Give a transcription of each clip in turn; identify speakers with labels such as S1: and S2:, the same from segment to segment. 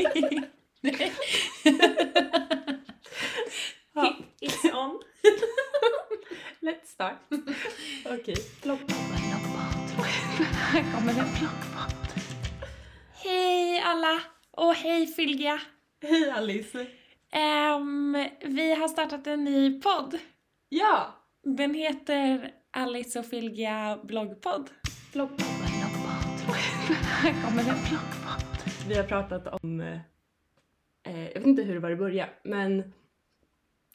S1: Plackband.
S2: Hej alla och hej Fylgia.
S1: Hej Alice.
S2: Ehm, vi har startat en ny podd.
S1: Ja.
S2: Den heter Alice och Fylgia bloggpodd. Bloggpodd. Här kommer den.
S1: Plackband. Vi har pratat om, eh, eh, jag vet inte hur det var i början, men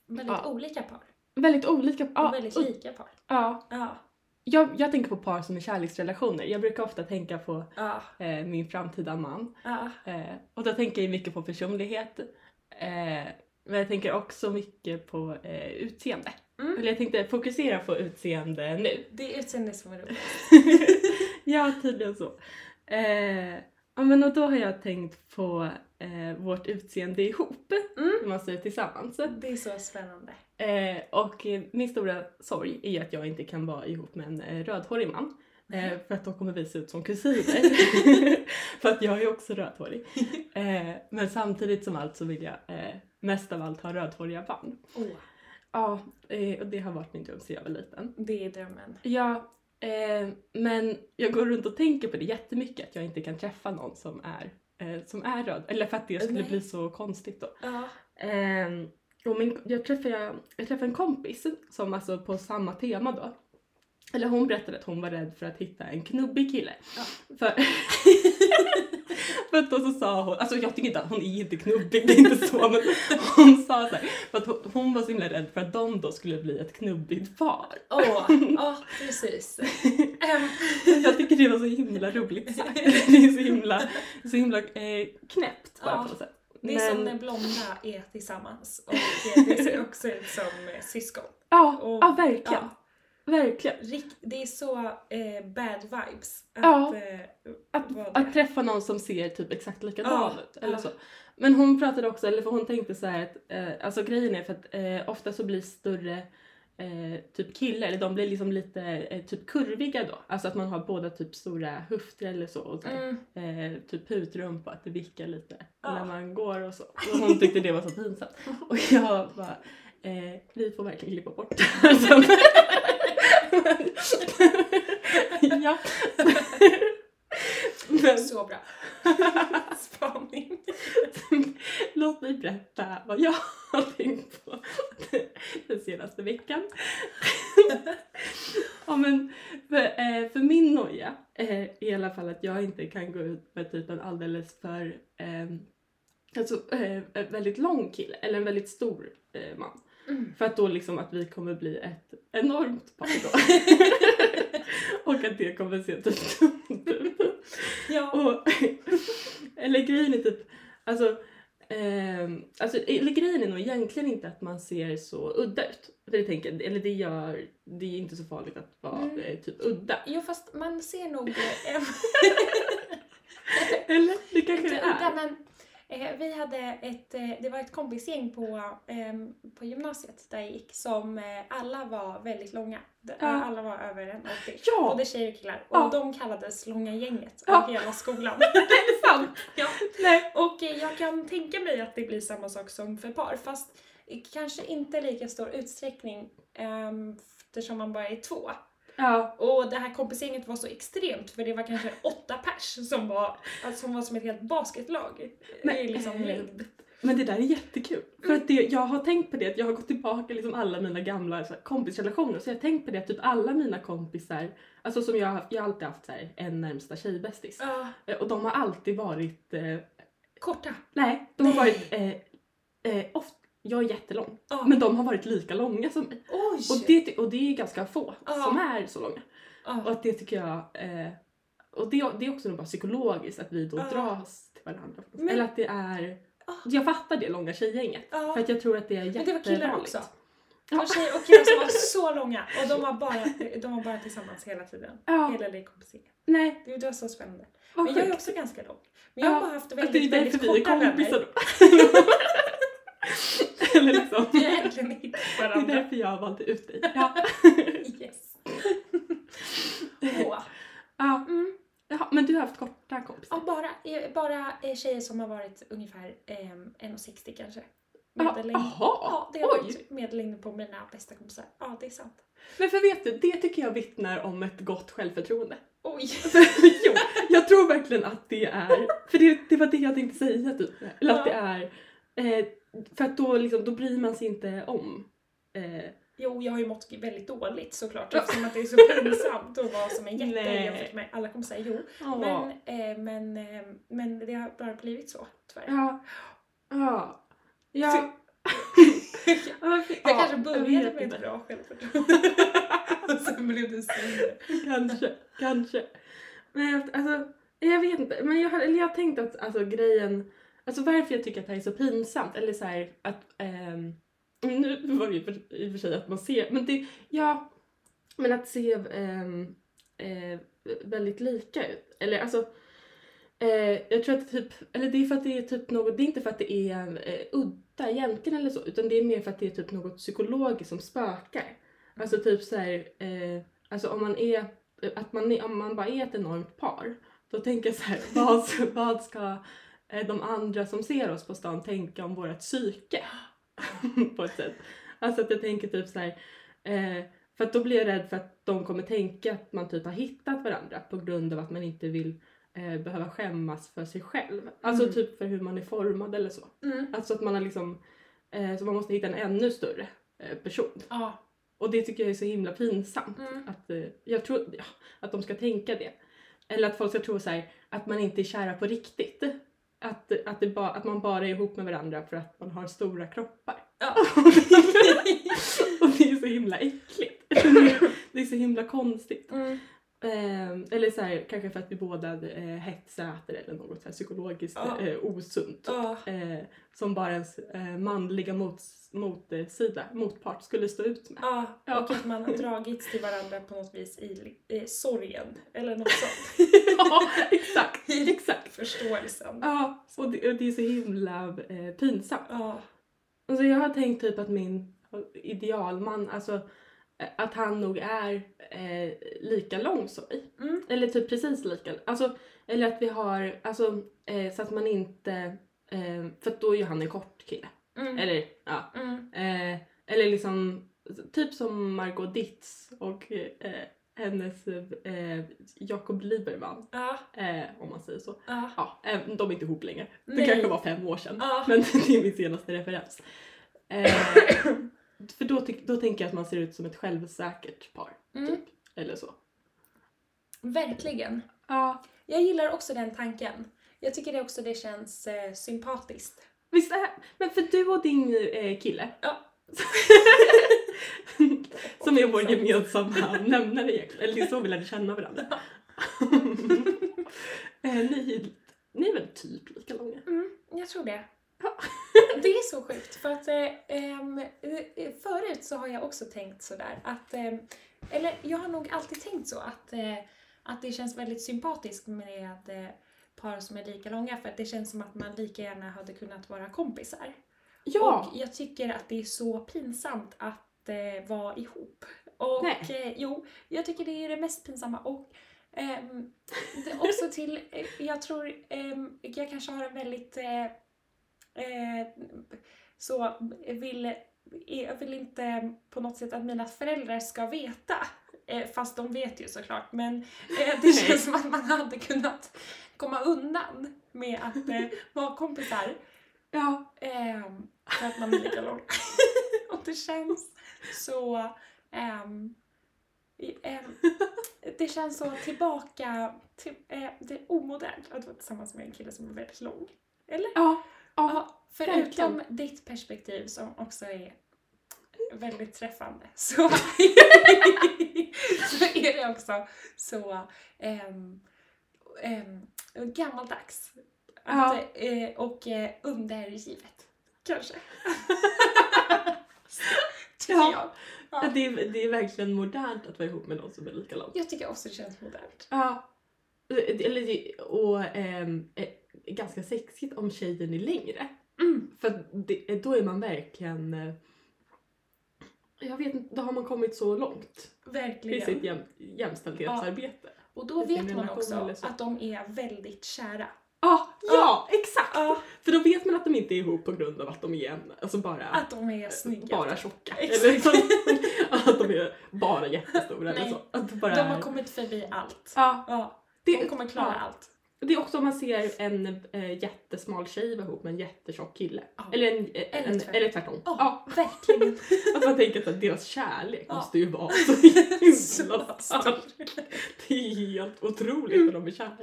S3: Väldigt
S1: Ja.
S3: olika par.
S1: väldigt olika.
S3: Och
S1: ja,
S3: väldigt
S1: och-
S3: lika par.
S1: ja.
S3: Ja.
S1: Jag, jag tänker på par som är kärleksrelationer. Jag brukar ofta tänka på
S3: Ja.
S1: eh, min framtida man.
S3: Ja.
S1: Eh, och då tänker jag mycket på personlighet. Eh, men jag tänker också mycket på eh, utseende.
S3: Mm.
S1: Eller jag tänkte fokusera på utseende nu.
S3: Det är utseendet som är roligt.
S1: ja, tydligen så. Eh, ja, men och då har jag tänkt på eh, vårt utseende ihop,
S3: Mm.
S1: hur man ser ut tillsammans.
S3: Det är så spännande.
S1: Eh, och eh, min stora sorg är att jag inte kan vara ihop med en eh, rödhårig man. Eh, för att då kommer vi se ut som kusiner. för att jag är också rödhårig. Eh, men samtidigt som allt så vill jag eh, mest av allt ha rödhåriga barn.
S3: Åh,
S1: Ja, eh, och det har varit min dröm sedan jag var liten.
S3: det är drömmen.
S1: Ja, eh, men jag går runt och tänker på det jättemycket att jag inte kan träffa någon som är, eh, som är röd. Eller för att det skulle
S3: Nej.
S1: bli så konstigt då.
S3: Ja.
S1: Eh, och min, jag, träffade, jag, jag träffade en kompis som alltså på samma tema då. Eller hon berättade att hon var rädd för att hitta en knubbig kille. För, för att då så sa hon, alltså jag tycker inte att hon är inte knubbig, det är inte så men hon sa såhär, för att hon, hon var så himla rädd för att de då skulle bli ett knubbigt par.
S3: Åh, ja precis. Ehm,
S1: Jag tycker det var så himla roligt sagt. Det är så himla, så himla eh, knäppt bara
S3: Ja,
S1: på något sätt.
S3: det är som
S1: Men-
S3: när blonda är tillsammans och eh, det ser också ut som eh, syskon.
S1: Ja,
S3: och-
S1: ja verkligen.
S3: ja.
S1: Verkligen.
S3: Rick, det är så eh, bad vibes att,
S1: Ja.
S3: eh,
S1: Att,
S3: vara det.
S1: att träffa någon som ser typ exakt likadan
S3: Ja,
S1: ut. Eller
S3: ja.
S1: så. Men hon pratade också, eller för hon tänkte så här att, eh, alltså grejen är för att eh, ofta så blir större eh, typ killar, eller de blir liksom lite eh, typ kurviga då. Alltså att man har båda typ stora höfter eller så. Och så här,
S3: Mm.
S1: eh, typ putrumpa, att det vickar lite
S3: Ja.
S1: när man går och så. Och hon tyckte det var så pinsamt. Och jag bara, eh, vi får verkligen klippa bort det här sen. ja. Men
S3: Så bra. Spaning.
S1: låt mig berätta vad jag har tänkt på den senaste veckan. ja, men för, eh, för min noja eh, är i alla fall att jag inte kan gå ut med typ en alldeles för eh, alltså, eh, en väldigt lång kille eller en väldigt stor eh, man.
S3: Mm.
S1: För att då liksom att vi kommer bli ett enormt par då. Och att det kommer se typ dumt ut.
S3: Ja.
S1: Och, eller grejen är typ, alltså, ehm, alltså, eller grejen är nog egentligen inte att man ser så udda ut. För det tänker, jag- eller det gör, det är inte så farligt att vara
S3: Mm.
S1: eh, typ udda.
S3: Jo fast man ser nog eh,
S1: Eller det kanske det
S3: Inte udda,
S1: är.
S3: men eh, vi hade ett, eh, det var ett kompisgäng på, ehm, på gymnasiet där jag gick som eh, alla var väldigt långa. De-
S1: Ja.
S3: Alla var över 1,80.
S1: Ja.
S3: Både tjejer och killar.
S1: Ja.
S3: Och de kallades långa gänget av
S1: Ja.
S3: hela skolan.
S1: Är det sant?
S3: ja.
S1: Nej.
S3: Och eh, jag kan tänka mig att det blir samma sak som för par fast i kanske inte lika stor utsträckning ehm, eftersom man bara är två.
S1: Ja.
S3: Och det här kompisgänget var så extremt för det var kanske åtta pers som var, alltså, som, var som ett helt basketlag.
S1: Men,
S3: det är liksom
S1: eh,
S3: längd.
S1: Men det där är jättekul. För att det,
S3: Mm.
S1: jag har tänkt på det att jag har gått tillbaka liksom alla mina gamla så här, kompisrelationer. Så jag har tänkt på det att typ alla mina kompisar, alltså som jag har haft, jag har alltid haft så här, en närmsta tjejbästis.
S3: Ja,
S1: Eh, Och de har alltid varit eh,
S3: korta.
S1: Nej, de har
S3: Nej.
S1: varit eh, eh, oft, jag är jättelång,
S3: Ja.
S1: men de har varit lika långa som mig.
S3: Oj!
S1: Och det, ty- och det är ganska få
S3: Ja.
S1: som är så långa. Och
S3: ja.
S1: att det tycker jag, eh, och det, det är också nog bara psykologiskt att vi då
S3: Ja.
S1: dras till varandra.
S3: Men-
S1: Eller att det är,
S3: Ja.
S1: jag fattar det långa tjejgänget.
S3: Ja.
S1: För att jag tror att det är
S3: Men
S1: jättevanligt.
S3: det var killar också. Det
S1: Ja.
S3: var tjejer och killar som var så långa och de var bara, de var bara tillsammans hela tiden.
S1: Ja,
S3: Hela det kompisgänget.
S1: nej,
S3: Det var så spännande.
S1: vad
S3: Men jag är
S1: sjukt.
S3: också ganska lång. Men jag har
S1: Ja,
S3: bara haft
S1: Att det är
S3: väldigt,
S1: därför
S3: väldigt
S1: vi är
S3: korta
S1: kompisar
S3: vänner.
S1: då. Eller liksom.
S3: Vi har egentligen hittat
S1: Det är
S3: varandra.
S1: därför jag valde ut dig. Ja.
S3: Yes. Åh.
S1: ja.
S3: Mm.
S1: Jaha, men du har haft korta kompisar?
S3: Ja, bara, eh, bara eh, tjejer som har varit ungefär eh, 1,60 kanske.
S1: Ja,
S3: Medellängd.
S1: Jaha!
S3: Ja, det har
S1: Oj.
S3: varit medellängden på mina bästa kompisar. Ja, det är sant.
S1: Men för vet du, det tycker jag vittnar om ett gott självförtroende.
S3: Oj!
S1: jo, jag tror verkligen att det är, för det, det var det jag tänkte säga typ. Eller att det är, eh, för att då, liksom, då bryr man sig inte om. Eh,
S3: Jo, jag har ju mått väldigt dåligt såklart eftersom att det är så pinsamt att vara som en jätte
S1: Nej.
S3: jämfört med alla kommer säga jo. Men,
S1: ja.
S3: eh, men, eh, men det har bara blivit så tyvärr.
S1: Ja. Ja. Ja. Ja,
S3: Jag kanske
S1: vet
S3: började med
S1: inte.
S3: ett bra självförtroende. Och sen blev det sämre.
S1: Kanske, kanske. Men jag- alltså, jag vet inte. Men jag, har- eller jag har tänkt att alltså, grejen, alltså varför jag tycker att det här är så pinsamt, eller så här att, ehm, nu var det ju för, i och för sig att man ser, men det, ja, men att se ehm, eh, väldigt lika ut. Eller alltså, eh, jag tror att typ, eller det är för att det är typ något, det är inte för att det är eh, udda egentligen eller så, utan det är mer för att det är typ något psykologiskt som spökar. Alltså typ så här, eh, alltså om man är, att man, är- om man bara är ett enormt par, då tänker jag så här, vad, vad ska eh, de andra som ser oss på stan tänka om vårt psyke? på ett sätt. Alltså att jag tänker typ så här, eh, för att då blir jag rädd för att de kommer tänka att man typ har hittat varandra på grund av att man inte vill eh, behöva skämmas för sig själv. Alltså
S3: Mm.
S1: typ för hur man är formad eller så.
S3: Mm.
S1: Alltså att man har liksom, eh, så man måste hitta en ännu större eh, person.
S3: Ja.
S1: Och det tycker jag är så himla pinsamt.
S3: Mm.
S1: Att, eh, jag tror, ja, att de ska tänka det. Eller att folk ska tro så här, att man inte är kära på riktigt. Att, att, det ba, att man bara är ihop med varandra för att man har stora kroppar.
S3: Ja.
S1: och det är så himla äckligt. det är så himla konstigt.
S3: Mm.
S1: Eh, eller så här, kanske för att vi båda eh, hetsäter eller något så här psykologiskt
S3: Ja.
S1: eh, osunt.
S3: Ja.
S1: Eh, som bara ens eh, manliga mots, motsida, motpart skulle stå ut med.
S3: Ja,
S1: Ja.
S3: och att man har dragits till varandra på något vis i, i sorgen. Eller något sånt.
S1: ja, exakt, exakt.
S3: Förståelsen.
S1: Ja, och det, och det är så himla eh, pinsamt.
S3: Ja.
S1: Alltså jag har tänkt typ att min idealman, alltså eh, att han nog är eh, lika lång som mig.
S3: Mm.
S1: Eller typ precis lika. Alltså, eller att vi har, alltså eh, så att man inte, eh, för att då är ju han en kort kille.
S3: Mm.
S1: Eller ja.
S3: Mm.
S1: Eh, eller liksom, typ som Margot Ditz och eh, hennes eh, Jakob Lieberman,
S3: Ja.
S1: eh, om man säger så.
S3: Ja.
S1: Ja, eh, de är inte ihop längre. Det
S3: Nej.
S1: kanske var fem år sedan.
S3: Ja.
S1: Men det är min senaste referens. Eh, för då, tyck- då tänker jag att man ser ut som ett självsäkert par. typ.
S3: Mm.
S1: Eller så.
S3: Verkligen.
S1: Ja.
S3: Jag gillar också den tanken. Jag tycker det också det känns eh, sympatiskt.
S1: Visst är Men för du och din eh, kille.
S3: Ja.
S1: som är vår gemensamma nämnare egentligen. Eller det är så vi lärde känna varandra. eh, ni, ni är väl typ lika långa?
S3: Mm, jag tror det.
S1: Ja.
S3: Det är så sjukt för att eh, ehm, eh, förut så har jag också tänkt sådär att, ehm, eller jag har nog alltid tänkt så att, eh, att det känns väldigt sympatiskt med eh, par som är lika långa för att det känns som att man lika gärna hade kunnat vara kompisar.
S1: Ja!
S3: Och jag tycker att det är så pinsamt att eh, vara ihop. Och
S1: Nej.
S3: eh, jo, jag tycker det är det mest pinsamma. Och ehm, det är också till, eh, jag tror, ehm, jag kanske har en väldigt eh, eh, så, vill, jag vill inte på något sätt att mina föräldrar ska veta. Eh, fast de vet ju såklart. Men eh, det känns som att man hade kunnat komma undan med att eh, vara kompisar.
S1: ja.
S3: Ehm, för att man är lika lång. och det känns så... ehm, i- ehm, det känns så tillbaka... Till, eh, det är omodernt att vara tillsammans med en kille som är väldigt lång. Eller?
S1: ja. ja.
S3: Ja, förutom ditt perspektiv som också är väldigt träffande så, så är det också så um, gammaldags. Att, eh, och eh, undergivet, kanske. tycker
S1: Ja.
S3: jag.
S1: Ja,
S3: Ja.
S1: Det, är, det är verkligen modernt att vara ihop med någon som är lika lång.
S3: Jag tycker också det känns modernt.
S1: Ja. Eh, Eller, det- och ehm, eh, ganska sexigt om tjejen är längre.
S3: Mm.
S1: För att det, eh, då är man verkligen... eh, Jag vet inte, då har man kommit så långt i
S3: Verkligen.
S1: sitt jäm, jämställdhetsarbete.
S3: Och då
S1: i sin
S3: vet man
S1: relation eller
S3: också
S1: så.
S3: att de är väldigt kära.
S1: Ah, ja, exakt!
S3: Ja.
S1: För då vet man att de inte är ihop på grund av att de är en, alltså bara,
S3: Att de är snygga.
S1: bara tjocka.
S3: Exakt.
S1: Eller liksom, att de är bara jättestora eller
S3: Nej.
S1: så. Att de bara
S3: De har
S1: är-
S3: kommit förbi allt.
S1: ja,
S3: Ja. Hon
S1: Det,
S3: kommer klara
S1: ja.
S3: allt.
S1: det är också om man ser en eh, jättesmal tjej vara ihop med en jättetjock kille.
S3: Ja.
S1: Eller, en, eh,
S3: Eller
S1: en,
S3: tvärtom.
S1: eller tvärtom.
S3: Ja.
S1: Ja,
S3: Verkligen.
S1: att man tänker att deras kärlek
S3: Ja.
S1: måste ju vara så himla
S3: Så
S1: stark. Det är helt otroligt när de är kära.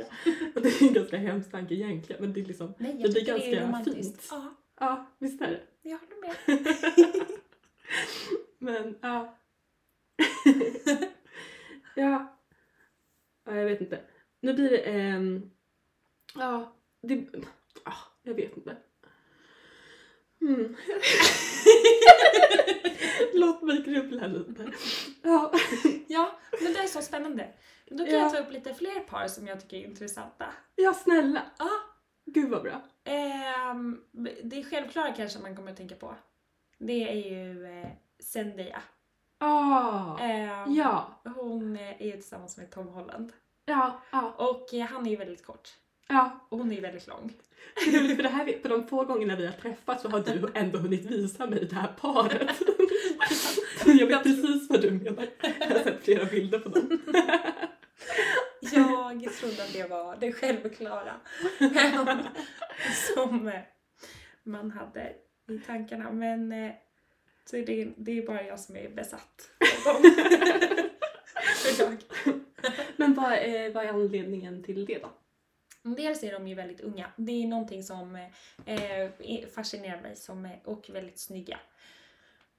S1: Och det är en ganska hemsk tanke egentligen men det är liksom,
S3: Nej,
S1: Det
S3: jag
S1: blir
S3: tycker det är
S1: ganska
S3: romantiskt.
S1: fint.
S3: Ja,
S1: ja visst är det.
S3: jag håller med.
S1: Men ja. ja. Ja, jag vet inte. Nu blir det en... Ja, det... Ah, jag vet inte. Mm. Låt mig grubbla lite. Ja.
S3: Ja, men det är så spännande. Men Då kan jag
S1: Ja.
S3: ta upp lite fler par som jag tycker är intressanta.
S1: ja, snälla. Ah,
S3: Ja.
S1: Gud vad bra.
S3: Ehm, det är självklara kanske man kommer att tänka på. Det är ju eh, Zendaya.
S1: Ah.
S3: Ehm,
S1: Ja.
S3: Hon eh, är ju tillsammans med Tom Holland.
S1: Ja. Ja.
S3: Och eh, han är ju väldigt kort.
S1: ja.
S3: Och hon är ju väldigt lång.
S1: Det är roligt för det här, på de få gångerna vi har träffats så har du ändå hunnit visa mig det här paret. Jag vet precis vad du menar. Jag har sett flera bilder på dem.
S3: Jag trodde att det var det självklara ehm, som eh, man hade i tankarna. Men eh, så är det, det är bara jag som är besatt av dem. För jag.
S1: Men vad är, vad är anledningen till det då?
S3: Dels är de ju väldigt unga. Det är någonting som eh, eh, fascinerar mig som, eh, och väldigt snygga.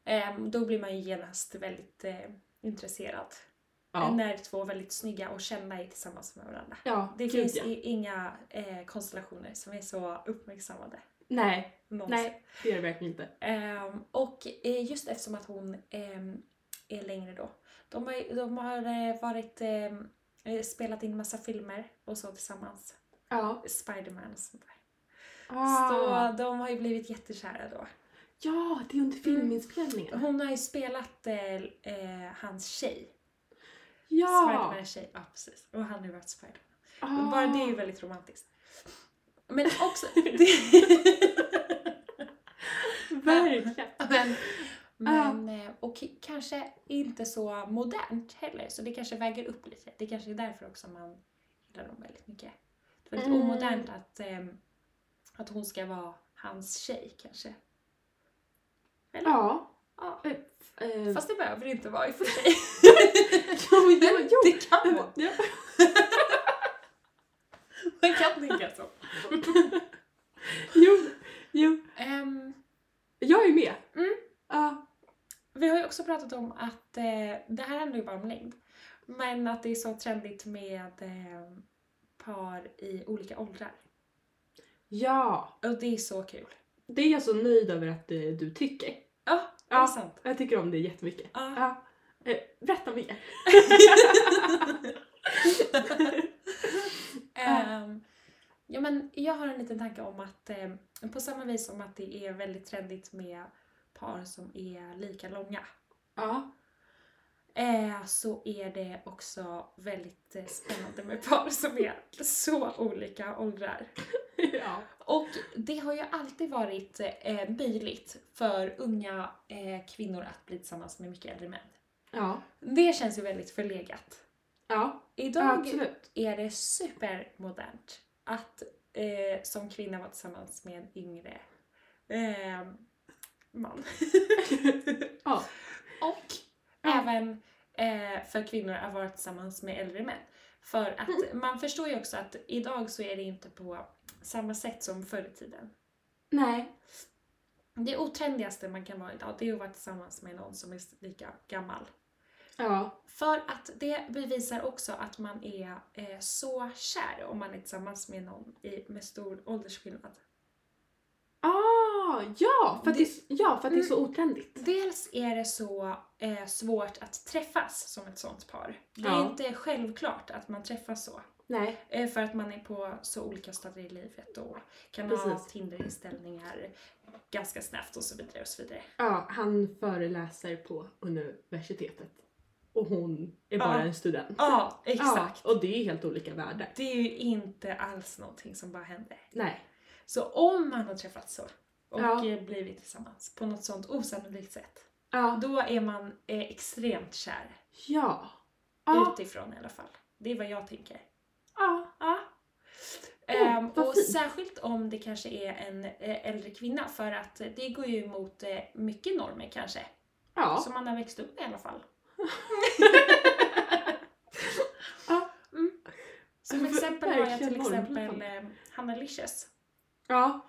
S3: Eh, då blir man ju genast väldigt eh, intresserad.
S1: Ja.
S3: När två väldigt snygga och kända är tillsammans med varandra.
S1: Ja,
S3: Det
S1: gud,
S3: finns
S1: ja.
S3: i- inga eh, konstellationer som är så uppmärksammade.
S1: Nej,
S3: någonsin.
S1: nej, det är det verkligen inte.
S3: Ehm, och eh, just eftersom att hon ehm, är längre då. De har, de har eh, varit, ehm, eh, spelat in massa filmer och så tillsammans.
S1: Ja.
S3: Spiderman och sånt där.
S1: Ah.
S3: Så de har ju blivit jättekära då.
S1: Ja, det är under filminspelningen.
S3: Hon har ju spelat eh, eh, hans tjej.
S1: Ja!
S3: Spidermans tjej, ja precis. Och han har ju varit Spiderman.
S1: Ah.
S3: Bara det är ju väldigt romantiskt. Men också... det,
S1: Ah. Verkligen.
S3: men men eh, och k- kanske inte så modernt heller. Så det kanske väger upp lite. Det kanske är därför också man gillar dem väldigt mycket. Det är väldigt
S1: Mm.
S3: omodernt att, ehm, att hon ska vara hans tjej kanske.
S1: Ja.
S3: Ja.
S1: Eh, eh,
S3: Fast det behöver det inte vara i och för sig.
S1: jo, jo, jo.
S3: Det kan vara.
S1: Ja.
S3: Man kan tänka så.
S1: Jo, jo.
S3: Ehm,
S1: Jag är med.
S3: Mm.
S1: Ja.
S3: vi har ju också pratat om att, eh, det här handlar ju bara om längd, men att det är så trendigt med eh, par i olika åldrar.
S1: ja.
S3: Och det är så kul.
S1: Det är jag så nöjd över att eh, du tycker.
S3: Ja, det är
S1: Ja.
S3: sant.
S1: Jag tycker om det jättemycket.
S3: Ja.
S1: Ja. Eh, berätta mer.
S3: Ehm, ja, men jag har en liten tanke om att eh, på samma vis som att det är väldigt trendigt med par som är lika långa
S1: Ja.
S3: eh, så är det också väldigt eh, spännande med par som är så olika åldrar.
S1: ja.
S3: Och det har ju alltid varit eh, möjligt för unga eh, kvinnor att bli tillsammans med mycket äldre män.
S1: Ja.
S3: Det känns ju väldigt förlegat.
S1: Ja,
S3: Idag
S1: absolut.
S3: är det supermodernt att eh, som kvinna vara tillsammans med en yngre eh, man.
S1: Ja.
S3: Och
S1: Ja.
S3: även eh, för kvinnor att vara tillsammans med äldre män. För att man förstår ju också att idag så är det inte på samma sätt som förr i tiden.
S1: Nej.
S3: Det otrendigaste man kan vara idag det är att vara tillsammans med någon som är lika gammal.
S1: Ja.
S3: För att det bevisar också att man är eh, så kär om man är tillsammans med någon i, med stor åldersskillnad.
S1: Ah, ja, för att det, är- ja, för att det är så
S3: Mm.
S1: otrendigt.
S3: Dels är det så eh, svårt att träffas som ett sånt par. Det är
S1: Ja.
S3: inte självklart att man träffas så.
S1: Nej.
S3: Eh, för att man är på så olika stadier i livet och kan ha
S1: Precis.
S3: Tinderinställningar ganska snabbt och så vidare och så vidare.
S1: Ja, han föreläser på universitetet och hon är bara
S3: Ja.
S1: en student.
S3: Ja, exakt.
S1: Ja, och det är helt olika världar.
S3: Det är ju inte alls någonting som bara händer.
S1: Nej.
S3: Så om man har träffats så och
S1: Ja.
S3: eh, blivit tillsammans på något sånt osannolikt sätt,
S1: Ja.
S3: då är man eh, extremt kär.
S1: Ja. Ja.
S3: Utifrån i alla fall. Det är vad jag tänker. Ja. ja.
S1: Mm,
S3: Ehm,
S1: vad
S3: och
S1: fint.
S3: särskilt om det kanske är en eh, äldre kvinna för att eh, det går ju emot eh, mycket normer kanske.
S1: Ja.
S3: Som man har växt upp med i alla fall.
S1: Ja.
S3: Mm. Som
S1: Ver-
S3: exempel har jag
S1: verkligen
S3: till
S1: normer i alla
S3: exempel
S1: fall.
S3: eh, Hanna Licious.
S1: Ja.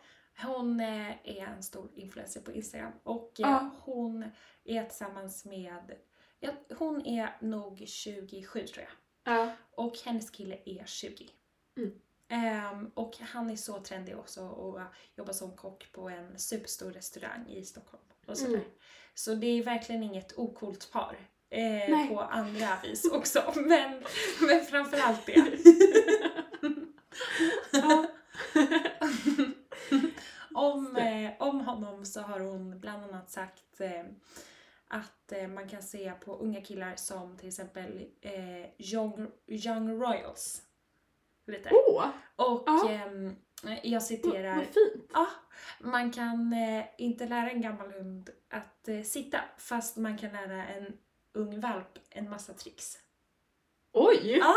S3: Hon eh, är en stor influencer på Instagram och eh,
S1: Ja.
S3: hon är tillsammans med, ja, hon är nog 27 tror jag.
S1: Ja.
S3: Och hennes kille är 20.
S1: Mm.
S3: Ehm, och han är så trendig också och eh, jobbar som kock på en superstor restaurang i Stockholm. Och sådär.
S1: Mm.
S3: Så det är verkligen inget okult par. eh,
S1: Nej.
S3: på andra vis också. Men, men framförallt det.
S1: Ja.
S3: om, eh, om honom så har hon bland annat sagt eh, att eh, man kan se på unga killar som till exempel eh, young, young royals. Lite.
S1: Åh,
S3: Och
S1: Oh. Ja. Mm.
S3: ehm, jag
S1: vad
S3: citerar.
S1: vad fint.
S3: Ja, man kan eh, inte lära en gammal hund att eh, sitta fast man kan lära en ung valp en massa tricks.
S1: Oj!
S3: Ja.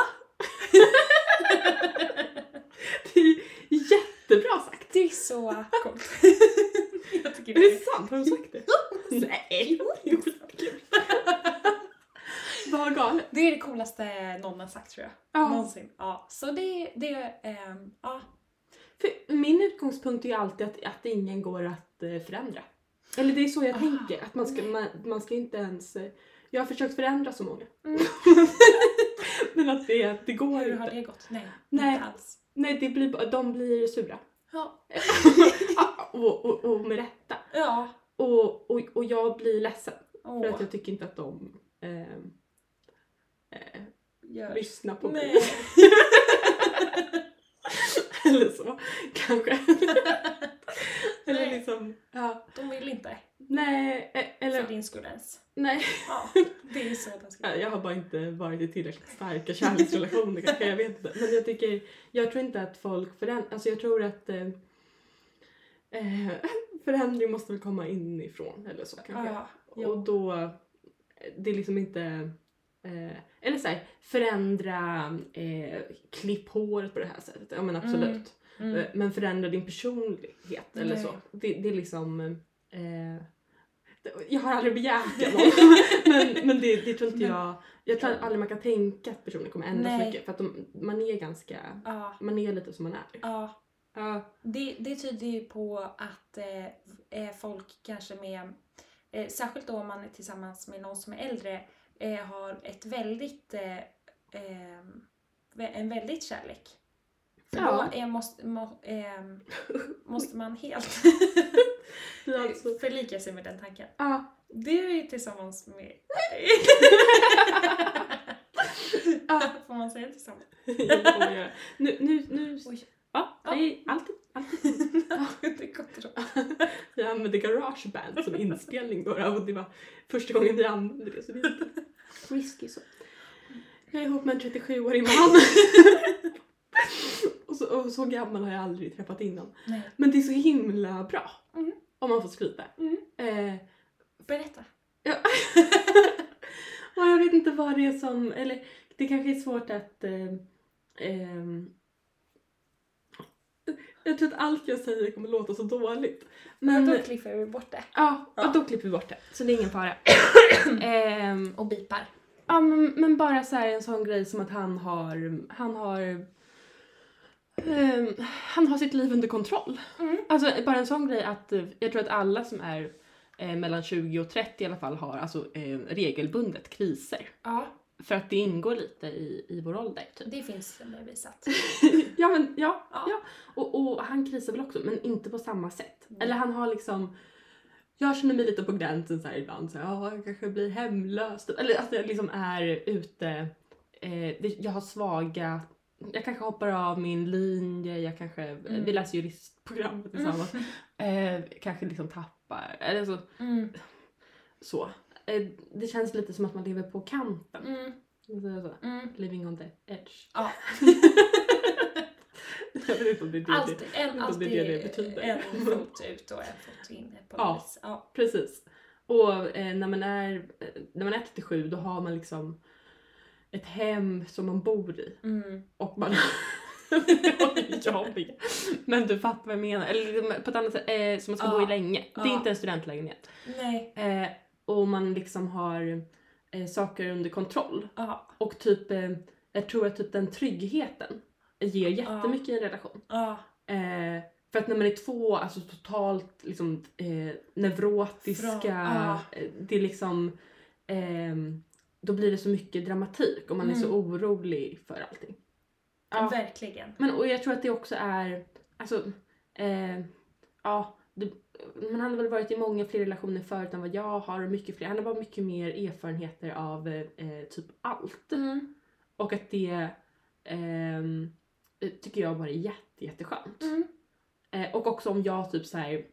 S1: det är jättebra sagt.
S3: Det är så coolt. jag tycker
S1: Är det
S3: det
S1: sant? Har hon sagt det? Nej! Det är skitkul. Vad galet.
S3: Det är det coolaste någon har sagt tror jag.
S1: Ja.
S3: Någonsin. Ja. Så det, det ehm, ja.
S1: För min utgångspunkt är ju alltid att, att ingen går att eh, förändra. Eller det är så jag
S3: Ah,
S1: tänker. Att man ska, man, man ska inte ens... eh, Jag har försökt förändra så många.
S3: Mm.
S1: Men att det, att det går
S3: Hur
S1: inte.
S3: har det gått? Nej,
S1: Nej.
S3: inte alls.
S1: Nej, det blir, bara- de blir sura.
S3: Ja.
S1: Ah, och, och, och med rätta.
S3: ja.
S1: Och, och, och jag blir ledsen.
S3: Åh.
S1: För att jag tycker inte att de eh, eh,
S3: Gör-
S1: lyssnar på mig.
S3: Nej.
S1: Eller så, kanske. Eller
S3: Nej.
S1: liksom, ja.
S3: De vill inte.
S1: Nej, eh, eller
S3: För din skull ens.
S1: nej.
S3: Ja, det är så taskigt.
S1: Ja, Jag har bara inte varit i tillräckligt starka kärleksrelationer kanske, jag vet inte. Men jag tycker, jag tror inte att folk förändras, alltså jag tror att eh, eh, förändring måste väl komma inifrån eller så kanske.
S3: Ja,
S1: Och då, eh, det är liksom inte, eh, eller såhär, förändra, eh, klipp håret på det här sättet. Ja men absolut.
S3: Mm. Mm.
S1: Eh, Men förändra din personlighet eller
S3: Nej.
S1: så. Det, det är liksom... Eh, det- jag har aldrig begärt det av någon. men, men det, det tror inte
S3: Men-
S1: jag... Jag tror aldrig man kan tänka att personer kommer ändras
S3: Nej.
S1: så mycket. För att de, man är ganska...
S3: Ja,
S1: Man är lite som man är.
S3: ja.
S1: Ja.
S3: Det, det tyder ju på att eh, eh, folk kanske med, eh, särskilt då om man är tillsammans med någon som är äldre, eh, har ett väldigt, eh, ehm, vä- en väldigt kärlek. För
S1: Ja.
S3: då är, måste, må, ehm, måste man helt
S1: Det är alltså...
S3: förlika sig med den tanken.
S1: Ja.
S3: Du är ju tillsammans med...
S1: Ja.
S3: Får man säga tillsammans?
S1: jag får göra. Nu... nu, nu
S3: Oj.
S1: Ja,
S3: Ja.
S1: nej, alltid.
S3: det är gott då.
S1: Vi använde garageband som inspelning bara och det var första gången vi använde det så vi Risky så. Jag är ihop med en 37-årig man. och, så, och så gammal har jag aldrig träffat innan.
S3: Nej.
S1: Men det är så himla bra.
S3: Mm.
S1: Om man får skryta.
S3: Mm.
S1: Eh,
S3: Berätta.
S1: ja. och jag vet inte vad det är som, eller det kanske är svårt att eh, ehm, jag tror att allt jag säger kommer låta så dåligt. Men,
S3: Då klipper vi bort det.
S1: Ja,
S3: Ja.
S1: och då klipper vi bort det. Så det är ingen fara. Ehm,
S3: Och bipar.
S1: ja, men, men bara så här en sån grej som att han har... Han har... ehm, han har sitt liv under kontroll.
S3: Mm.
S1: Alltså bara en sån grej att eh, jag tror att alla som är eh, mellan 20 och 30 i alla fall har alltså, eh, regelbundet kriser.
S3: Ja.
S1: För att det ingår lite i, i vår ålder. Typ.
S3: Det finns bevisat.
S1: ja, men ja.
S3: Ja.
S1: ja. Och, och han krisar väl också, men inte på samma sätt.
S3: Nej.
S1: Eller han har liksom... Jag känner mig lite på gränsen så här ibland. Så här, "Ja, jag kanske blir hemlös. typ. Eller att jag liksom är ute. Eh, det, jag har svaga... Jag kanske hoppar av min linje. Jag kanske,
S3: Mm.
S1: Vi läser juristprogrammet tillsammans. Eh, kanske liksom tappar. Eller så.
S3: Mm.
S1: så. Eh, det känns lite som att man lever på kanten.
S3: Mm.
S1: Så, så.
S3: Mm.
S1: Living on the edge.
S3: Ja.
S1: jag vet inte om det är det.
S3: Alltid, en,
S1: det
S3: alltid
S1: det det betyder.
S3: en fot ut och en fot in på
S1: Ja.
S3: något vis. Ja.
S1: Precis. Och eh, när, man är, eh, när man är 37 då har man liksom ett hem som man bor i
S3: Mm.
S1: och man Det var ju jobbiga. Men du fattar vad jag menar. Eller liksom på ett annat sätt, eh, som man ska
S3: Ja.
S1: bo i länge. Det är
S3: Ja.
S1: inte en studentlägenhet.
S3: Nej.
S1: Eh, och man liksom har eh, saker under kontroll.
S3: Ja.
S1: Och typ, eh, jag tror att typ den tryggheten ger jättemycket i en relation.
S3: Ja.
S1: Eh, för att när man är två, alltså totalt liksom, eh, neurotiska,
S3: Fra- ja.
S1: eh, det är liksom, ehm, då blir det så mycket dramatik och man är
S3: Mm.
S1: så orolig för allting. Ja.
S3: Verkligen.
S1: Men och jag tror att det också är, alltså, eh, ja, det, man hade väl varit i många fler relationer förut än vad jag har och mycket fler, han har bara mycket mer erfarenheter av eh, eh, typ allt.
S3: Mm.
S1: Och att det ehm, tycker jag bara är jätte, jätteskönt.
S3: Mm.
S1: Eh, och också om jag typ så här.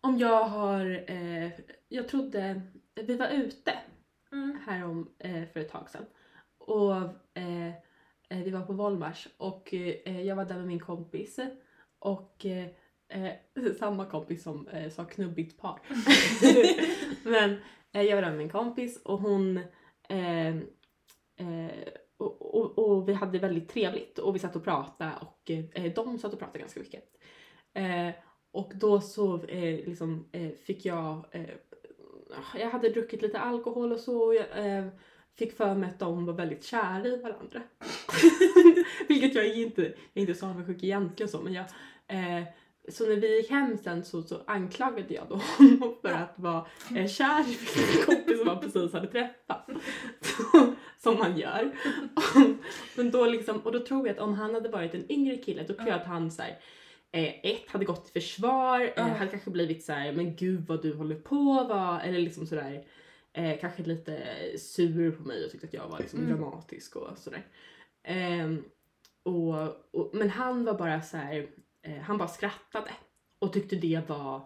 S1: Om jag har, eh, jag trodde, vi var ute
S3: Mm.
S1: härom eh, för ett tag sedan. Och eh, eh, vi var på Volmars och eh, jag var där med min kompis och eh, eh, samma kompis som eh, sa knubbigt par. Men eh, jag var där med min kompis och hon eh, eh, och, och, och vi hade väldigt trevligt och vi satt och pratade och eh, de satt och pratade ganska mycket. Eh, och då så eh, liksom, eh, fick jag, eh, jag hade druckit lite alkohol och så och jag eh, fick för mig att de var väldigt kära i varandra. Vilket jag är inte, jag är inte så avundsjuk egentligen så men jag, eh, så när vi gick hem sen så, så anklagade jag då honom för att vara eh, kär i min kompis som han precis hade träffat. Så, som man gör. Men då liksom, och då tror jag att om han hade varit en yngre kille då tror jag att han så här, eh, ett hade gått i försvar, eh,
S3: Ja.
S1: hade kanske blivit så här, men gud vad du håller på va? eller liksom sådär eh, kanske lite sur på mig och tyckte att jag var liksom
S3: Mm.
S1: dramatisk och sådär. Ehm, och, och, men han var bara så här, eh, han bara skrattade och tyckte det var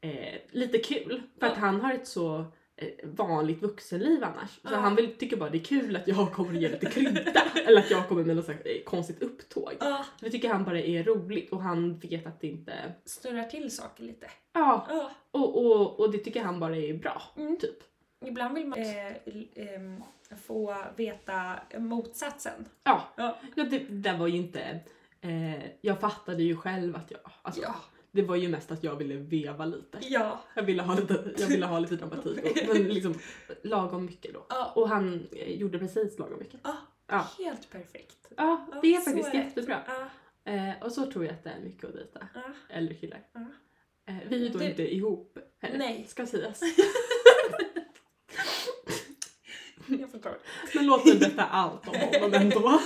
S1: eh, lite kul för att
S3: Ja.
S1: han har ett så eh, vanligt vuxenliv annars. Så
S3: Ja.
S1: han vill, tycker bara det är kul att jag kommer ge lite krydda eller att jag kommer med något så här, eh, konstigt upptåg.
S3: Ja.
S1: Så vi tycker han bara är roligt och han vet att det inte...
S3: Snurrar till saker lite.
S1: Ja,
S3: Ja.
S1: och, och, och det tycker han bara är bra.
S3: Mm.
S1: Typ.
S3: Ibland vill man eh, l- ehm, få veta motsatsen.
S1: Ja,
S3: Ja.
S1: Ja, typ, det, det där var ju inte... Eh, jag fattade ju själv att jag... Alltså,
S3: Ja.
S1: Det var ju mest att jag ville veva lite.
S3: Ja.
S1: Jag ville ha lite, jag ville ha lite dramatik. Och, men liksom lagom mycket då.
S3: Ja.
S1: Och han eh, gjorde precis lagom mycket.
S3: Ja.
S1: Ja.
S3: Helt perfekt.
S1: Ja,
S3: Ja,
S1: det är
S3: så
S1: faktiskt
S3: är det.
S1: jättebra.
S3: Ja.
S1: Eh, och så tror jag att det är mycket att dejta
S3: Ja.
S1: äldre killar.
S3: Ja.
S1: Eh, vi är ju då
S3: Det-
S1: inte ihop heller,
S3: Nej.
S1: ska sägas.
S3: Jag förstår.
S1: Men låt mig berätta allt om honom ändå.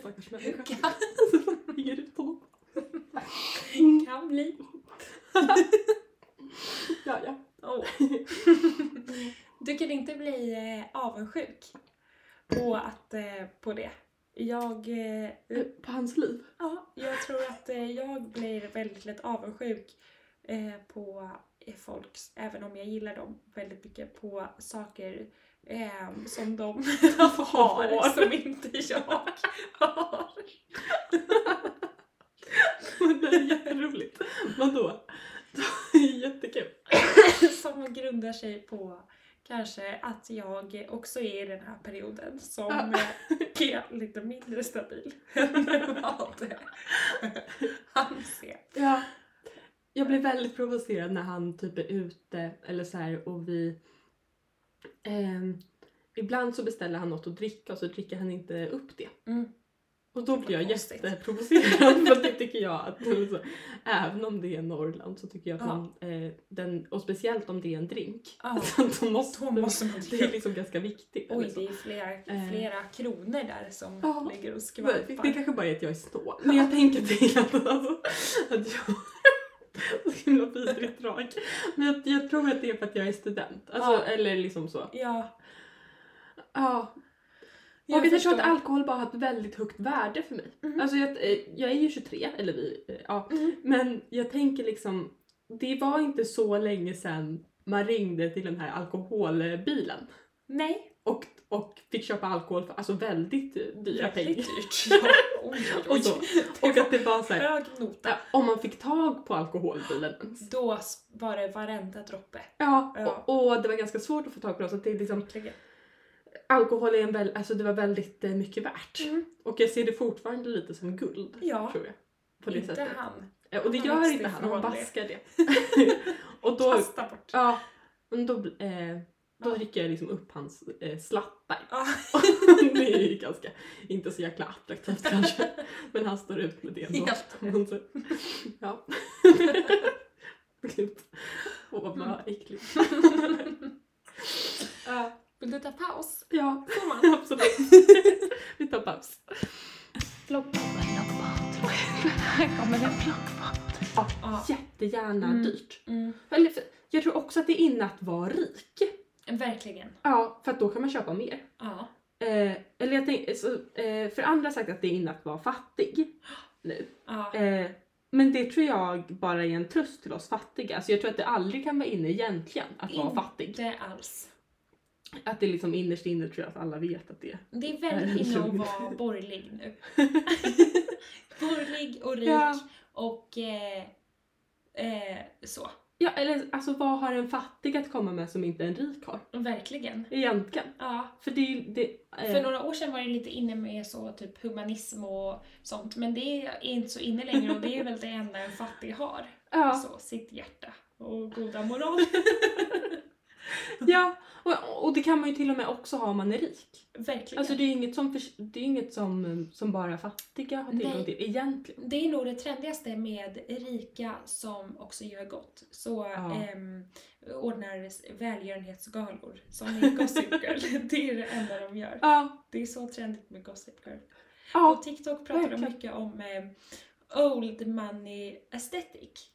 S1: Stackars människa. Ringer ut honom.
S3: Kan bli.
S1: Ja, ja.
S3: Åh. Du kan inte bli eh, avundsjuk på, att, eh, på det. Jag, eh,
S1: På hans liv.
S3: ja, jag tror att eh, jag blir väldigt lätt avundsjuk eh, på eh, folk, även om jag gillar dem väldigt mycket, på saker eh, som de har som inte jag har.
S1: Det är jätteroligt. Vadå? Det är jättekul.
S3: som grundar sig på kanske att jag också är i den här perioden som eh, är lite mindre stabil än vad eh, han ser.
S1: Ja. Jag blev väldigt provocerad när han typ är ute eller så här och vi... ehm, ibland så beställer han något att dricka och så dricker han inte upp det.
S3: Mm.
S1: Och då blir jag
S3: Konstigt.
S1: jätteprovocerad för det tycker jag att alltså, även om det är Norrland så tycker jag att
S3: Ja.
S1: man, eh, den, och speciellt om det är en drink,
S3: Ja.
S1: då måste,
S3: Då måste man
S1: det är
S3: dricka.
S1: liksom ganska viktigt. eller
S3: Oj,
S1: så.
S3: det är flera,
S1: Eh.
S3: flera kronor där som
S1: Ja.
S3: ligger och
S1: Men Det
S3: skvalpar.
S1: kanske bara är att jag är snål. Men jag tänker till att, alltså, att jag... Så himla vidrigt drag. Men jag, jag tror att det är för att jag är student. Alltså,
S3: Ja.
S1: Eller liksom så.
S3: Ja,
S1: Ja.
S3: jag
S1: och att jag tror
S3: förstår.
S1: att alkohol bara har ett väldigt högt värde för mig.
S3: Mhm.
S1: Alltså jag, eh, jag är ju 23, eller vi, eh, ja.
S3: Mm.
S1: Men jag tänker liksom, det var inte så länge sedan man ringde till den här alkoholbilen.
S3: Nej,
S1: Och, och fick köpa alkohol för alltså väldigt dyra pengar.
S3: Väldigt dyrt. Ja. Oj,
S1: Och
S3: oj,
S1: så.
S3: oj.
S1: Och att det var så här,
S3: Hög nota.
S1: ja, om man fick tag på alkoholbilen ens.
S3: Då s- var det varenda droppe.
S1: Ja,
S3: Ja.
S1: Och, och det var ganska svårt att få tag på dem så att det är liksom,
S3: Verkligen.
S1: alkohol är en väl, alltså det var väldigt eh, mycket värt.
S3: Mm.
S1: Och jag ser det fortfarande lite som guld,
S3: Ja,
S1: tror jag. På det
S3: inte
S1: sättet.
S3: han.
S1: Eh, Och det
S3: Han
S1: gör
S3: växte
S1: inte han, han
S3: ifrån det.
S1: vaskar det. och då,
S3: Kasta bort.
S1: ja, men då, bl- eh, då
S3: Ja.
S1: rycker jag liksom upp hans eh, slattar.
S3: Ja.
S1: det är ju ganska, inte så jäkla attraktivt kanske. Men han står ut med det ändå.
S3: Helt.
S1: Men så- Ja. Gud. Åh vad äckligt.
S3: Ja. Vill du ta paus?
S1: Ja,
S3: Får man?
S1: absolut. Vi tar paus.
S2: Här kommer det plock.
S3: Ja.
S1: Jättegärna
S3: Mm.
S1: dyrt.
S3: Mm.
S1: Eller, för- jag tror också att det är inne att vara rik.
S3: Verkligen.
S1: Ja, för att då kan man köpa mer.
S3: Ja.
S1: Eh, eller jag tänk, så, eh, för andra har sagt att det är inne att vara fattig nu.
S3: ja.
S1: Eh, men det tror jag bara är en tröst till oss fattiga. Alltså jag tror att det aldrig kan vara inne egentligen att vara
S3: Inte.
S1: fattig.
S3: Inte alls.
S1: Att det liksom innerst inne tror jag att alla vet att det är.
S3: Det är
S1: Nej,
S3: väldigt inne att
S1: lugn.
S3: vara borgerlig nu. borgerlig och rik
S1: Ja.
S3: och eh, eh, så.
S1: Ja, eller alltså vad har en fattig att komma med som inte en rik har?
S3: Verkligen.
S1: Egentligen.
S3: Ja.
S1: För det är ju... Det, eh,
S3: För några år sedan var det lite inne med så typ humanism och sånt men det är inte så inne längre och det är väl det enda en fattig har.
S1: ja.
S3: Så, sitt hjärta och goda moral.
S1: Ja, och, och det kan man ju till och med också ha om man är rik.
S3: Verkligen.
S1: Alltså det är ju inget som, förs- det är ju inget som, som bara fattiga har tillgång
S3: Nej.
S1: till egentligen.
S3: Det är nog det trendigaste med rika som också gör gott. Så
S1: Ja.
S3: ehm, ordnar välgörenhetsgalor som är Gossip Girl. det är det enda de gör.
S1: Ja,
S3: Det är så trendigt med Gossip Girl. På
S1: ja,
S3: TikTok pratar de
S1: verkligen.
S3: mycket om ehm, old money aesthetic.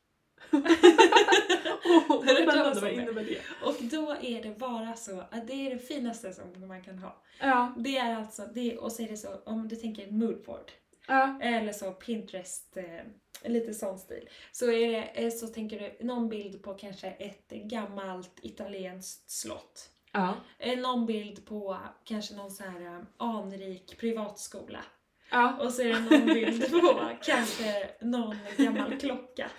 S1: oh,
S3: Har
S1: vad
S3: du hört
S1: spännande,
S3: talas om
S1: vad
S3: det?
S1: innebär det?
S3: Och då är det bara så att det är det finaste som man kan ha.
S1: Ja,
S3: Det är alltså, det, och så är det så om du tänker moodboard
S1: ja,
S3: eller så Pinterest, eh, lite sån stil. Så, är det, eh, så tänker du någon bild på kanske ett gammalt italienskt slott.
S1: ja,
S3: Eh, någon bild på kanske någon så här eh, anrik privatskola.
S1: ja.
S3: Och så är det någon bild på kanske någon gammal klocka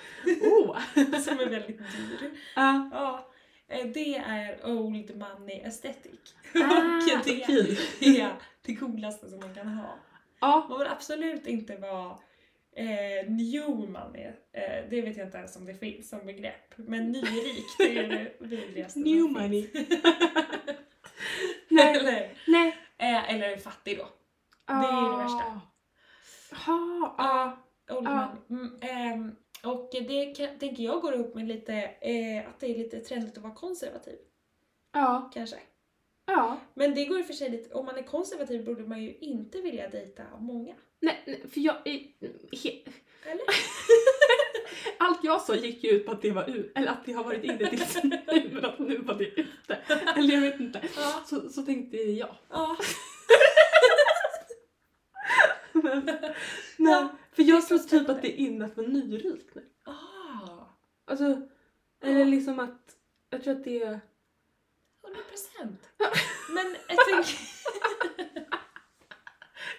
S1: Oh.
S3: som är väldigt dyr.
S1: Ja.
S3: Ja, eh, det är old money aesthetic.
S1: Ah,
S3: Och det
S1: okej.
S3: är det coolaste som man kan ha.
S1: Ja,
S3: Man vill absolut inte vara eh, new money. Eh, det vet jag inte ens om det finns som begrepp. Men nyrik, det är det vidrigaste som
S1: new
S3: finns.
S1: money. nej,
S3: eller,
S1: nej.
S3: eh, eller fattig då. Det är ju det värsta.
S1: Ah. Ja, ja.
S3: Old
S1: Ja.
S3: money. Mm, ehm, och det kan, tänker jag går upp med lite, eh, att det är lite trendigt att vara konservativ
S1: Ja,
S3: kanske.
S1: ja.
S3: Men det går i och för sig lite, om man är konservativ borde man ju inte vilja dejta många.
S1: Nej, nej, för jag... eh, he-
S3: Eller?
S1: Allt jag sa gick ju ut på att det var ut, eller att det har varit inne tills nu, men att nu var det ute. Eller jag vet inte.
S3: Ja.
S1: Så, så tänkte jag.
S3: Ja.
S1: Men, men, för jag
S3: så
S1: tror typ
S3: spännande.
S1: att det är inne att vara nyrik nu.
S3: Ah,
S1: Alltså, eller liksom att, jag tror att det är...
S3: 100 procent. Men jag tänker...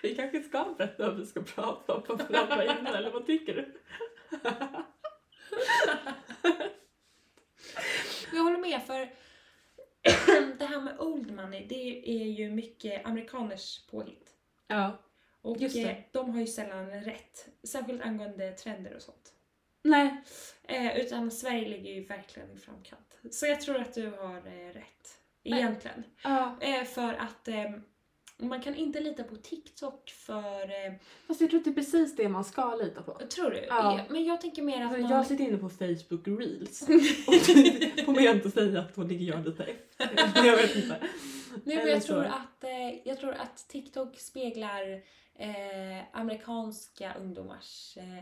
S1: Vi kanske ska berätta vad vi ska prata om på andra ämnen, eller vad tycker du?
S3: Jag håller med för det här med old money, det är ju mycket amerikaners påhitt.
S1: Ja.
S3: Och
S1: Just det.
S3: eh, de har ju sällan rätt, särskilt angående trender och sånt.
S1: Nej.
S3: Eh, utan Sverige ligger ju verkligen i framkant. Så jag tror att du har eh, rätt,
S1: Nej.
S3: egentligen.
S1: Ja.
S3: Eh, för att eh, man kan inte lita på TikTok för... Eh,
S1: Fast jag tror att det är precis det man ska lita på.
S3: tror du?
S1: Ja.
S3: Eh, Men jag tänker mer att
S1: Alltså,
S3: man...
S1: jag sitter inne på Facebook Reels och det får mig inte säga att då ligger jag lite efter. Jag vet inte.
S3: Nej, men
S1: Eller
S3: jag,
S1: så.
S3: tror att, eh, jag tror att TikTok speglar eh, amerikanska ungdomars eh,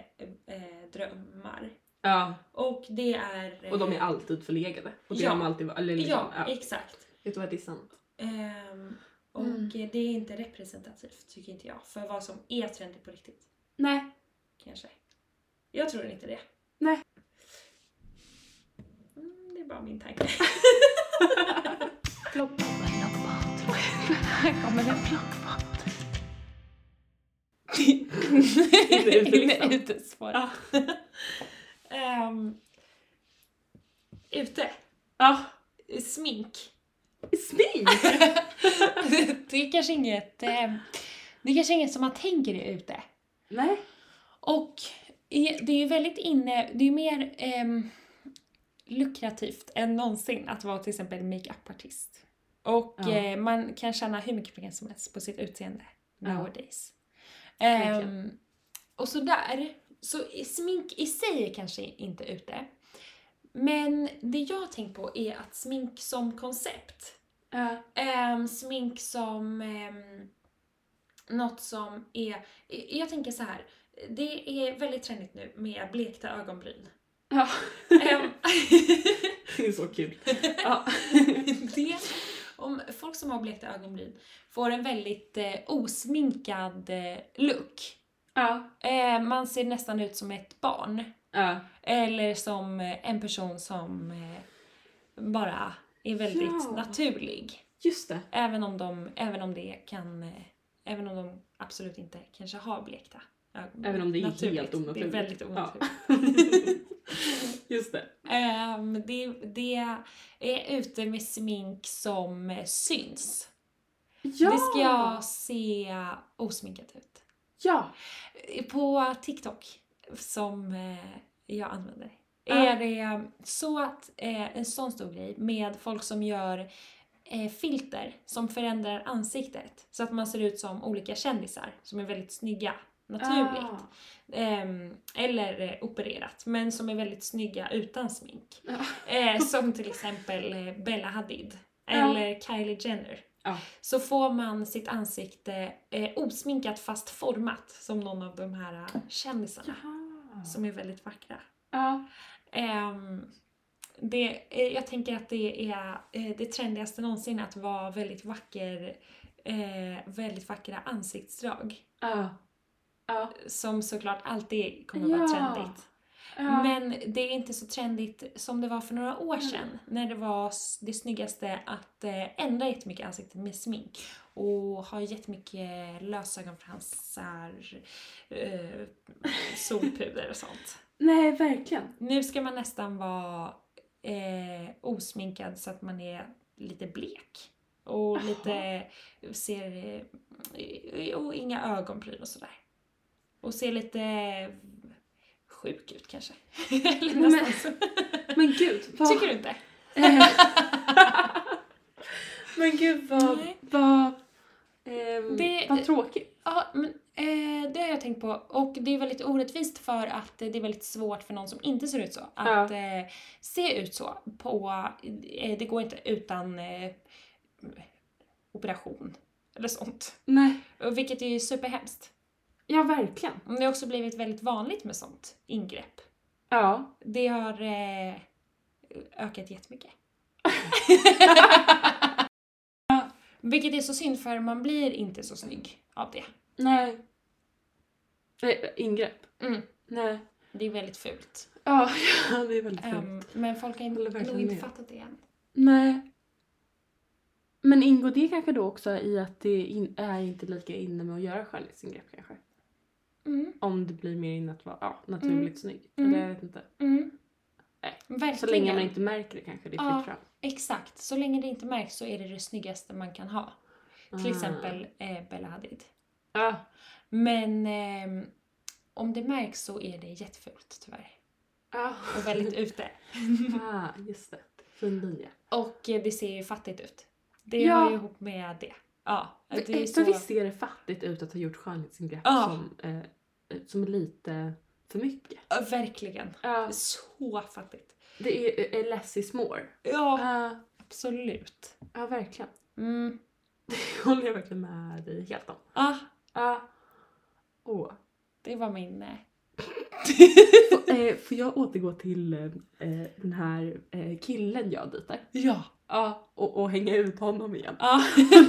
S3: eh, drömmar.
S1: Ja,
S3: Och det är... eh,
S1: och de är alltid förlegade. Och det
S3: Ja.
S1: har de alltid varit. Eller liksom,
S3: Ja,
S1: ja.
S3: exakt.
S1: Vet du vad, det är sant.
S3: Ehm, och
S1: Mm.
S3: eh, det är inte representativt, tycker inte jag, för vad som är trendigt på riktigt.
S1: Nej.
S3: Kanske. Jag tror inte det.
S1: Nej.
S3: Mm, det är bara min tanke.
S2: Plock.
S3: Här kommer en plockpott.
S1: Inne i utelistan.
S3: Utespår.
S4: liksom? Ja. Ehm, ute.
S1: Ja.
S4: Smink.
S1: Smink!
S3: det är kanske inget... eh, Det är kanske inget som man tänker är ute.
S1: Nej.
S3: Och i- det är ju väldigt inne, det är ju mer ehm, lukrativt än någonsin att vara till exempel makeup-artist. Och
S1: Ja.
S3: eh, man kan tjäna hur mycket pengar som helst på sitt utseende
S1: Ja.
S3: nowadays.
S1: Verkligen.
S3: Ehm, och sådär, så i- smink i sig är kanske inte ute. Men det jag har tänkt på är att smink som koncept
S1: Ja.
S3: Ehm, smink som ehm, något som är... Jag tänker så här. Det är väldigt trendigt nu med blekta ögonbryn.
S1: ja.
S3: Ehm,
S1: Det är så kul. Ja.
S3: det, om folk som har blekta ögonbryn får en väldigt eh, osminkad eh, look.
S1: Ja.
S3: Ehm, man ser nästan ut som ett barn.
S1: Ja.
S3: Eller som eh, en person som eh, bara är väldigt
S1: Ja.
S3: naturlig.
S1: Just det.
S3: Även om de, även om det kan, eh, även om de absolut inte kanske har blekta ögon.
S1: Även om det är
S3: Naturligt.
S1: helt
S3: Det är
S1: onaturligt.
S3: väldigt
S1: Ja.
S3: onaturligt.
S1: Just det.
S3: Ehm, det, det är ute med smink som eh, syns.
S1: Ja!
S3: Det ska jag se osminkat ut.
S1: Ja!
S3: På TikTok som eh, jag använder
S1: Ja.
S3: är det så att eh, en sån stor grej med folk som gör eh, filter som förändrar ansiktet så att man ser ut som olika kändisar som är väldigt snygga naturligt.
S1: Ah.
S3: Ehm, eller eh, opererat men som är väldigt snygga utan smink.
S1: Ja.
S3: Eh, som till exempel eh, Bella Hadid eller Kylie Jenner.
S1: Ja.
S3: Så får man sitt ansikte eh, osminkat fast format som någon av de här eh, kändisarna
S1: Jaha.
S3: som är väldigt vackra.
S1: Ja.
S3: Ehm, det, eh, jag tänker att det är eh, det trendigaste någonsin att vara väldigt vacker, eh, väldigt vackra ansiktsdrag.
S1: Ja. Ja.
S3: Som såklart alltid kommer vara
S1: Ja.
S3: trendigt.
S1: Ja.
S3: Men det är inte så trendigt som det var för några år
S1: Mm.
S3: sedan. När det var s- det snyggaste att eh, ändra jättemycket ansiktet med smink. Och ha jättemycket lösögonfransar, eh, solpuder och sånt.
S1: Nej, verkligen.
S3: Nu ska man nästan vara eh, osminkad så att man är lite blek. Och
S1: Jaha.
S3: lite ser... eh, Och inga ögonbryn och sådär. Och ser lite sjuk ut kanske. Eller
S1: Men-
S3: nästan så.
S1: Men gud, vad...
S3: Tycker du inte?
S1: Eh. Men gud vad...
S3: Nej.
S1: Vad, ehm,
S3: Det-
S1: vad tråkigt.
S3: Ja, men eh, det har jag tänkt på. Och det är väldigt orättvist för att eh, det är väldigt svårt för någon som inte ser ut så att eh, se ut så. På, eh, det går inte utan eh, operation eller sånt.
S1: Nej.
S3: Och Vilket är ju superhemskt.
S1: Ja, verkligen.
S3: Men Det har också blivit väldigt vanligt med sånt ingrepp.
S1: Ja.
S3: Det har eh, ökat jättemycket. Vilket är så synd för man blir inte så snygg av det.
S1: Nej. Nej, ingrepp.
S3: Mm.
S1: Nej.
S3: Det är väldigt fult.
S1: Ja, ja, det är väldigt fint.
S3: Ehm, men folk har
S1: Håller
S3: inte-
S1: verkligen
S3: nog inte
S1: med.
S3: fattat det än.
S1: Nej. Men ingår det kanske då också i att det in, är inte lika inne med att göra skönhetsingrepp kanske?
S3: Mm,
S1: Om det blir mer inne att vara ja, naturligt snygg.
S3: Mm.
S1: Eller jag vet inte.
S3: mm.
S1: Nej,
S3: Verkligen.
S1: Så länge man inte märker det kanske det är
S3: Ja,
S1: fritt fram.
S3: Exakt. Så länge det inte märks så är det det snyggaste man kan ha. Till
S1: Ah.
S3: exempel eh, Bella Hadid.
S1: Ja.
S3: Men ehm, om det märks så är det jättefult tyvärr.
S1: Ja.
S3: Och väldigt ute.
S1: Ah, just det. Fin linje.
S3: Och eh, det ser ju fattigt ut. Det
S1: Ja. eh,
S3: hör ju ihop med det. Ja. att Det är
S1: För visst
S3: så...
S1: ser det fattigt ut att ha gjort skönhetsingrepp
S3: Ja.
S1: som, eh, som är lite för mycket.
S3: Ja, Verkligen.
S1: Ja.
S3: Så fattigt.
S1: Det är, är less is more.
S3: Ja,
S1: Ja,
S3: absolut.
S1: ja verkligen.
S3: Mm.
S1: Det håller jag verkligen med dig helt om.
S3: Ah,
S1: Ja. Åh.
S3: det var min... eh,
S1: Får, eh, får jag återgå till eh, den här eh, killen jag dejtar?
S3: Ja.
S1: Ja. Och, och hänga ut honom igen.
S3: Ja.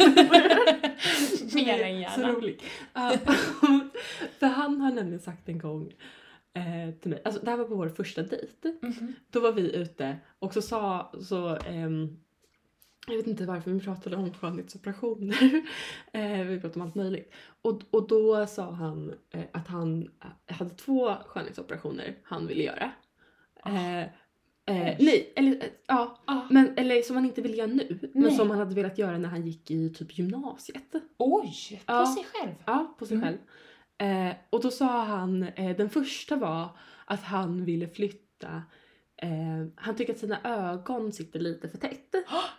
S3: Mer än
S1: Så
S3: gärna.
S1: rolig. Ja. För han har nämligen sagt en gång eh, till mig, alltså det här var på vår första dejt.
S3: Mhm.
S1: Då var vi ute och så sa så ehm, Jag vet inte varför vi pratade om skönhetsoperationer. Eh, vi pratade om allt möjligt. Och, och då sa han eh, att han eh, hade två skönhetsoperationer han ville göra. Eh, eh, nej, eller eh, ja.
S3: Ah.
S1: Men, eller som han inte vill göra nu, men
S3: Nej.
S1: som han hade velat göra när han gick i typ gymnasiet.
S3: Oj! På
S1: Ja.
S3: sig själv.
S1: Ja, på sig
S3: Mm.
S1: själv. Eh, och då sa han, eh, den första var att han ville flytta, eh, han tycker att sina ögon sitter lite för tätt.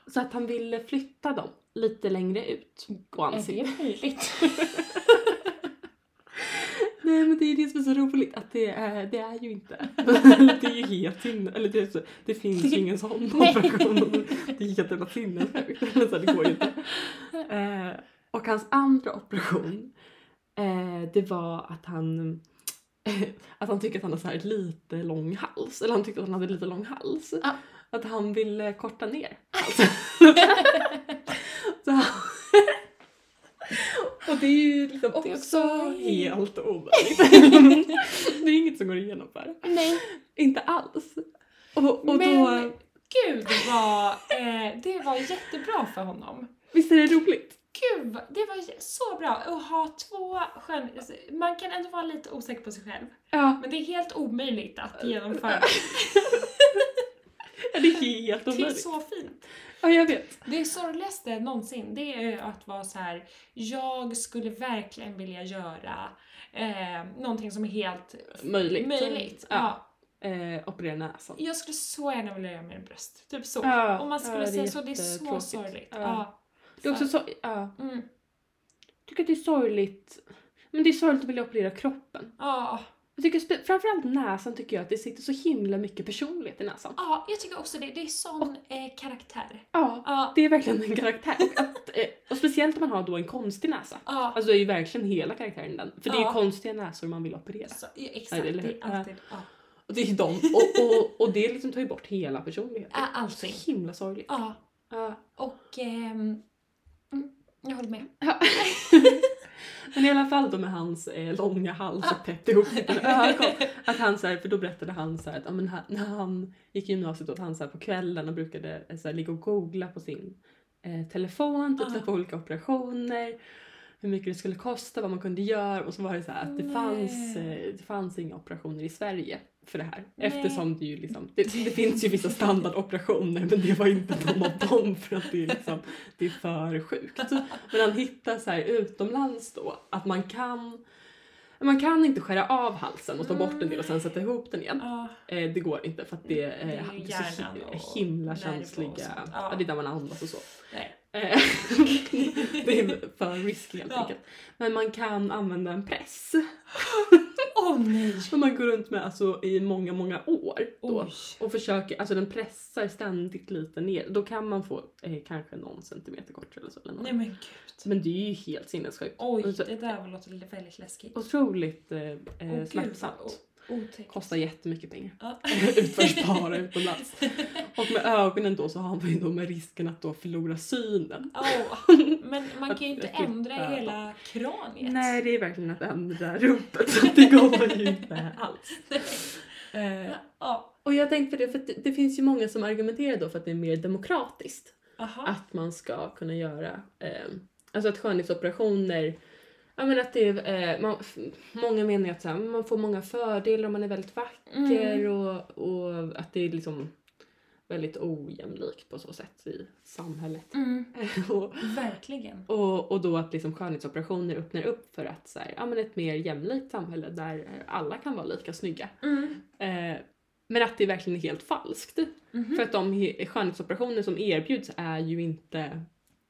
S1: Så att han ville flytta dem lite längre ut på
S3: Är
S1: ansiktet.
S3: det möjligt?
S1: Nej men det är det som är så roligt att det är, det är ju inte. det är ju helt inne, eller det, är så, det finns ju ingen sån
S3: Nej.
S1: operation. Det är helt jävla sinnessjukt. Eller så, det går ju inte. Eh, och hans andra operation, eh, det var att han att han tycker att han har så här lite lång hals. Eller han tyckte att han hade lite lång hals.
S3: Ja.
S1: Att han ville korta ner halsen. så han, och det är ju liksom
S3: Det
S1: också,
S3: är också
S1: helt omöjligt. det är inget som går att genomföra.
S3: Nej.
S1: Inte alls. Och, och
S3: Men
S1: då,
S3: gud vad... Eh, det var jättebra för honom.
S1: visst är det roligt?
S3: Gud, vad- det var j- så bra att ha två skön... Man kan ändå vara lite osäker på sig själv.
S1: Ja,
S3: Men det är helt omöjligt att genomföra.
S1: det är helt
S3: Det är
S1: omöjligt.
S3: så fint.
S1: Ja, jag vet.
S3: Det sorgligaste någonsin, det är att vara så här. jag skulle verkligen vilja göra eh, någonting som är helt
S1: Möjligt.
S3: möjligt.
S1: Ja.
S3: Ja.
S1: Eh, operera näsan.
S3: Jag skulle så gärna vilja göra mina bröst. Typ så.
S1: Ja,
S3: Om man
S1: ja,
S3: skulle
S1: det är
S3: säga så, det är så
S1: jättetråkigt.
S3: sorgligt.
S1: Ja.
S3: Ja.
S1: Det är också så, ja.
S3: Mm.
S1: tycker att det är sorgligt. Men det är sorgligt att vilja operera kroppen.
S3: Ja.
S1: Jag tycker spe- framförallt näsan tycker jag att det sitter så himla mycket personlighet i näsan.
S3: Ja, jag tycker också det. Det är sån eh, karaktär.
S1: Ja,
S3: Ja.
S1: det är verkligen en karaktär. Och, att, eh, och speciellt om man har då en konstig näsa.
S3: ja.
S1: Alltså det är ju verkligen hela karaktären i den. För det är ju
S3: Ja.
S1: konstiga näsor man vill operera.
S3: Så, ja,
S1: Ja,
S3: exakt,
S1: det är
S3: det
S1: lätt.
S3: är alltid... Ja.
S1: Och det är ju de. Och, och, och det liksom tar ju bort hela personligheten.
S3: Ja, allting.
S1: Så himla sorgligt.
S3: Ja.
S1: Ja.
S3: Och... ehm, mm, jag håller med.
S1: Men i alla fall då med hans eh, långa hals och tätt ihop ögon. Att han så här, för då berättade han så här att ja, men han, när han gick i gymnasiet att han så här, på kvällarna brukade eh, så här, ligga och googla på sin eh, telefon, typ
S3: Ah.
S1: så här, på olika operationer, hur mycket det skulle kosta, vad man kunde göra och så var det så här att det fanns,
S3: Nej.
S1: eh, det fanns inga operationer i Sverige för det här.
S3: Nej.
S1: Eftersom det ju liksom, det, det finns ju vissa standardoperationer men det var inte någon av dem för att det är liksom, det är för sjukt. Men han hittar så här utomlands då att man kan man kan inte skära av halsen och ta bort en del och sen sätta ihop den igen.
S3: Ja.
S1: Eh, det går inte för att det,
S3: Mm,
S1: eh,
S3: Det är
S1: det är så
S3: hjärnan
S1: hi- eh,
S3: och
S1: himla
S3: nerver och
S1: känsliga...
S3: sånt.
S1: Ja.
S3: Ja.
S1: det är där man andas och så.
S3: Nej.
S1: Eh, det är för risky helt
S3: Ja.
S1: enkelt. Men man kan använda en press.
S3: Åh nej!
S1: Som man går runt med alltså, i många, många år. Då.
S3: Oj.
S1: Och försöker, alltså den pressar ständigt lite ner. Då kan man få eh, kanske någon centimeter kortare eller så. Eller något.
S3: Nej men gud.
S1: Men det är ju helt sinnessjukt.
S3: Oj,
S1: Alltså,
S3: det där var- låter väldigt läskigt.
S1: Otroligt eh, eh,
S3: Åh, gud,
S1: smärtsamt.
S3: vad o- Otäckt.
S1: Kostar jättemycket pengar.
S3: Ja.
S1: Utförs bara utomlands. Och med ögonen då så har man ju då med risken att då förlora synen.
S3: Åh, Men man kan ju inte
S1: Att flytta-
S3: ändra hela kraniet.
S1: Nej det är verkligen att ändra rumpet. Så det går ju inte alls. Eh,
S3: Ja.
S1: och jag tänkte på det för att det, det finns ju många som argumenterar då för att det är mer demokratiskt.
S3: Aha.
S1: Att man ska kunna göra, eh, alltså att skönhetsoperationer Ja men att det är, eh, man, f- många menar ju att så här, man får många fördelar om man är väldigt vacker
S3: Mm.
S1: och, och att det är liksom väldigt ojämlikt på så sätt i samhället.
S3: Mm.
S1: och,
S3: Verkligen.
S1: och, och då att liksom skönhetsoperationer öppnar upp för att så här, ja, men ett mer jämlikt samhälle där alla kan vara lika snygga.
S3: Mm.
S1: Eh, men att det verkligen är helt falskt.
S3: Mhm.
S1: För att de he- skönhetsoperationer som erbjuds är ju inte,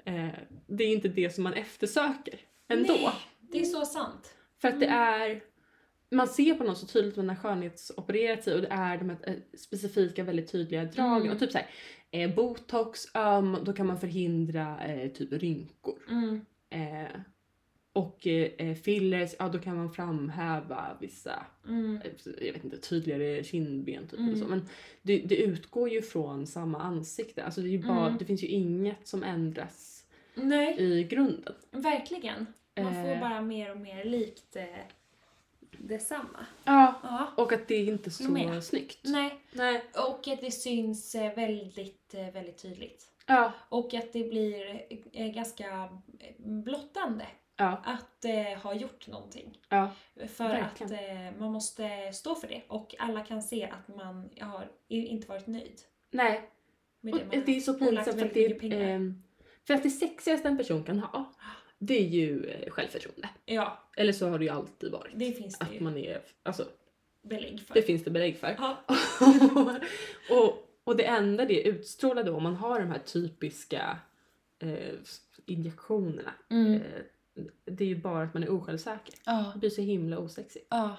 S1: eh, det är inte det som man eftersöker ändå.
S3: Nej, Mm. det är så sant.
S1: För att det är, man ser på någon så tydligt när man har skönhetsopererat sig och det är de här eh, specifika väldigt tydliga dragen.
S3: Mm.
S1: Och typ såhär, eh, botox, öm, då kan man förhindra eh, typ rynkor.
S3: Mm.
S1: Eh, och eh, eh, fillers, ja då kan man framhäva vissa,
S3: Mm.
S1: eh, jag vet inte, tydligare kindben typ
S3: Mm.
S1: eller så. Men det, det utgår ju från samma ansikte. Alltså det, är ju bara,
S3: Mm.
S1: det finns ju inget som ändras
S3: Nej,
S1: i grunden.
S3: verkligen. Man
S1: Eh.
S3: får bara mer och mer likt eh, detsamma.
S1: Ja.
S3: Ja.
S1: Och att det är inte så
S3: Men-
S1: snyggt.
S3: Nej,
S1: Nej.
S3: och att det syns eh, väldigt, eh, väldigt tydligt.
S1: Ja.
S3: Och att det blir eh, ganska blottande
S1: Ja.
S3: att eh, ha gjort någonting.
S1: Ja.
S3: För
S1: Verkligen.
S3: att eh, man måste stå för det och alla kan se att man har i- inte varit nöjd
S1: Nej.
S3: med
S1: Och
S3: det man
S1: det är så
S3: och lagt
S1: pinsamt för att
S3: väldigt
S1: det
S3: mycket pengar.
S1: ehm, För att det sexigaste en person kan ha, det är ju eh, självförtroende.
S3: Ja,
S1: Eller så har det ju alltid varit.
S3: det finns det
S1: Att
S3: ju
S1: man är, alltså
S3: belägg för.
S1: det finns det belägg för.
S3: Ja,
S1: och, och det enda det utstrålar då om man har de här typiska eh, injektionerna,
S3: mm.
S1: eh, det är ju bara att man är osjälvsäker.
S3: ja,
S1: Det blir så himla osexigt.
S3: ja.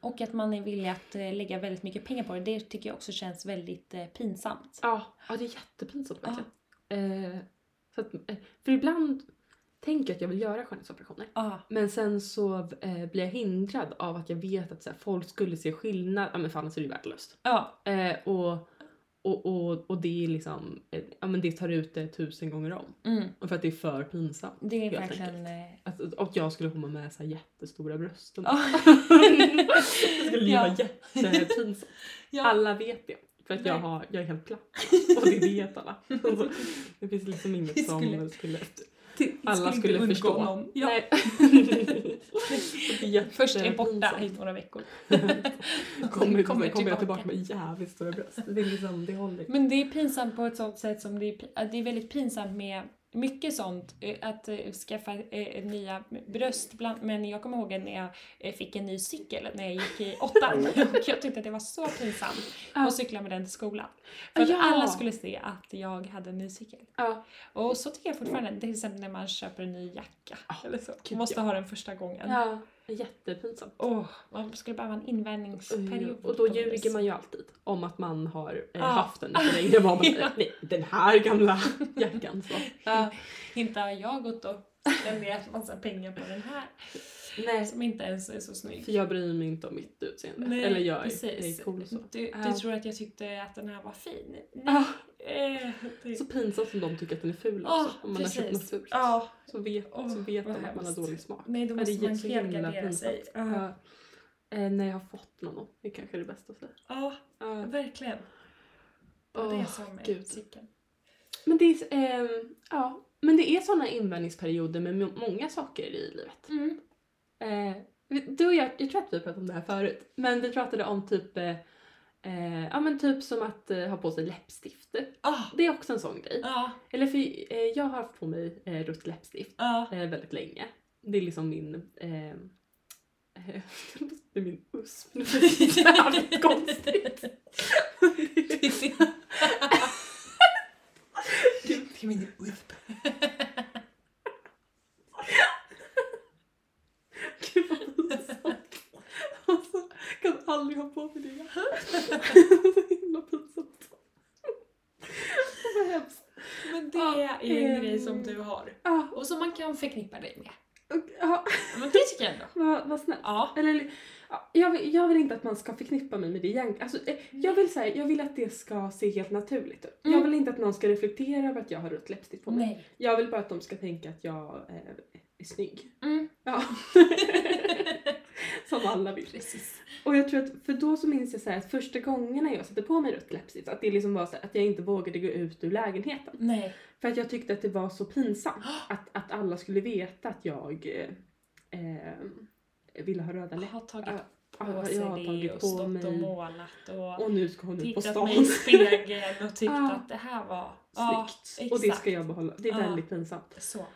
S3: Och att man är villig att eh, lägga väldigt mycket pengar på det, det tycker jag också känns väldigt eh, pinsamt.
S1: Ja, ja det är jättepinsamt verkligen. Eh, så att, eh, för ibland tänker jag att jag vill göra skönhetsoperationer.
S3: Ja,
S1: Men sen så eh, blir jag hindrad av att jag vet att så här, folk skulle se skillnad, ja men för annars är det ju värdelöst.
S3: ja,
S1: Eh, och, och, och, och det är liksom, eh, ja men det tar ut det tusen gånger om.
S3: mm.
S1: Och För att det är för pinsamt.
S3: det är
S1: Helt
S3: verkligen...
S1: enkelt.
S3: eh,
S1: Att, att jag skulle komma med så här jättestora bröst. och-
S3: Ja.
S1: det skulle ju
S3: Ja.
S1: vara jättepinsamt.
S3: Ja.
S1: Alla vet det. För att jag,
S3: Nej.
S1: har, jag är helt platt. Och det vet alla. Alltså, det finns liksom
S3: Vi
S1: inget
S3: skulle-
S1: som skulle...
S3: inte
S1: alla skulle
S3: undgå
S1: förstå.
S3: någon. Ja.
S1: Nej. Det är jätte-
S3: Först är borta i
S1: pinsamt.
S3: några veckor.
S1: Kommer,
S3: Sen
S1: kommer, kommer jag tillbaka med jävligt stora bröst. Det, är liksom, det håller
S3: Men det är pinsamt på ett sånt sätt som det är, pi- att det är väldigt pinsamt med mycket sånt, eh, att eh, skaffa eh, nya bröst. Bland, men jag kommer ihåg när jag eh, fick en ny cykel när jag gick i åttan. Och jag tyckte att det var så pinsamt
S1: Ja. Ah,
S3: att cykla med den till skolan. För att
S1: Ja.
S3: alla skulle se att jag hade en ny cykel.
S1: Ja.
S3: Och så tycker jag fortfarande, till exempel när man köper en ny jacka.
S1: Ja,
S3: eller så.
S1: Ah, gud,
S3: måste
S1: ja.
S3: ha den första gången.
S1: Ja, jättepinsamt.
S3: Åh, man skulle behöva en invänjningsperiod.
S1: Och då
S3: på något vis.
S1: ljuger man ju alltid om att man har eh,
S3: Ja.
S1: haft den för länge. Var man,
S3: Ja.
S1: Nej, den här gamla jackan. Så.
S3: Ja, inte har jag gått och spenderat massa pengar på den här
S1: Nej.
S3: som inte ens är så snygg.
S1: För jag bryr mig inte om mitt utseende.
S3: Nej,
S1: Eller jag är,
S3: precis.
S1: är cool och så.
S3: Du,
S1: Ja.
S3: du tror att jag tyckte att den här var fin?
S1: Ah,
S3: Eh, det-
S1: så pinsamt som de tycker att den är ful
S3: Ah,
S1: också. Om man har köpt något
S3: precis.
S1: fult.
S3: Ja,
S1: Så vet,
S3: Åh,
S1: så vet
S3: vad
S1: de att man har
S3: hemskt. Ah.
S1: dålig smak.
S3: nej då
S1: Ja, det
S3: måste
S1: är
S3: man
S1: så himla
S3: helgardera sig.
S1: pinsamt.
S3: Ja,
S1: Ja. Eh, när jag har fått någon. Det är kanske är det bästa att säga.
S3: ja
S1: Ja.
S3: verkligen. Och Ah. det är
S1: Åh,
S3: som med
S1: gud.
S3: cykeln.
S1: Men det är, ehm, ja. Men det är sådana invändningsperioder med må- många saker i livet.
S3: Mm.
S1: Eh, du och jag, jag tror att vi pratade om det här förut, men vi pratade om typ, eh, eh, ja men typ som att eh, ha på sig läppstift.
S3: Ah,
S1: Det är också en sån grej.
S3: ja,
S1: Eller för eh, jag har haft på mig eh, rött läppstift
S3: ja,
S1: eh, väldigt länge. Det är liksom min, eh, eh, det är min USP. Det är jävligt konstigt.
S3: Det är min USP.
S1: Gud vad pinsamt. Alltså, jag kan aldrig ha på mig det. Så himla pinsamt. Vad hemskt.
S3: Men det
S1: Ja,
S3: är en
S1: ehm.
S3: grej som du har.
S1: Ja,
S3: Och som man kan förknippa dig med.
S1: och- ja,
S3: Men det tycker jag ändå.
S1: vad, vad snällt.
S3: Ja.
S1: Eller, ja, jag, vill, jag vill inte att man ska förknippa mig med det egentligen. Alltså, eh, jag, vill, så här, jag vill att det ska se helt naturligt ut. Jag
S3: Mm.
S1: vill inte att någon ska reflektera över att jag har rött läppstift på mig.
S3: Nej.
S1: Jag vill bara att de ska tänka att jag eh, är snygg.
S3: Mm.
S1: Ja. Som alla vill.
S3: Precis.
S1: Och jag tror att, för då så minns jag så här att första gångerna jag satte på mig rött läppstift, att det liksom var så här, att jag inte vågade gå ut ur lägenheten.
S3: Nej.
S1: För att jag tyckte att det var så pinsamt att, att alla skulle veta att jag eh, eh, ville ha röda
S3: Jag
S1: läppar.
S3: har tagit
S1: Ja,
S3: på
S1: ja, jag
S3: sig
S1: har
S3: det
S1: tagit
S3: och
S1: på
S3: stått och
S1: mig-
S3: målat och,
S1: Och nu ska hon ut på
S3: tittat
S1: stan.
S3: mig i spegeln och tyckt
S1: Ja.
S3: att det här var... Ja,
S1: Snyggt!
S3: exakt.
S1: och det ska jag behålla. Det är
S3: Ja.
S1: väldigt pinsamt.
S3: Så.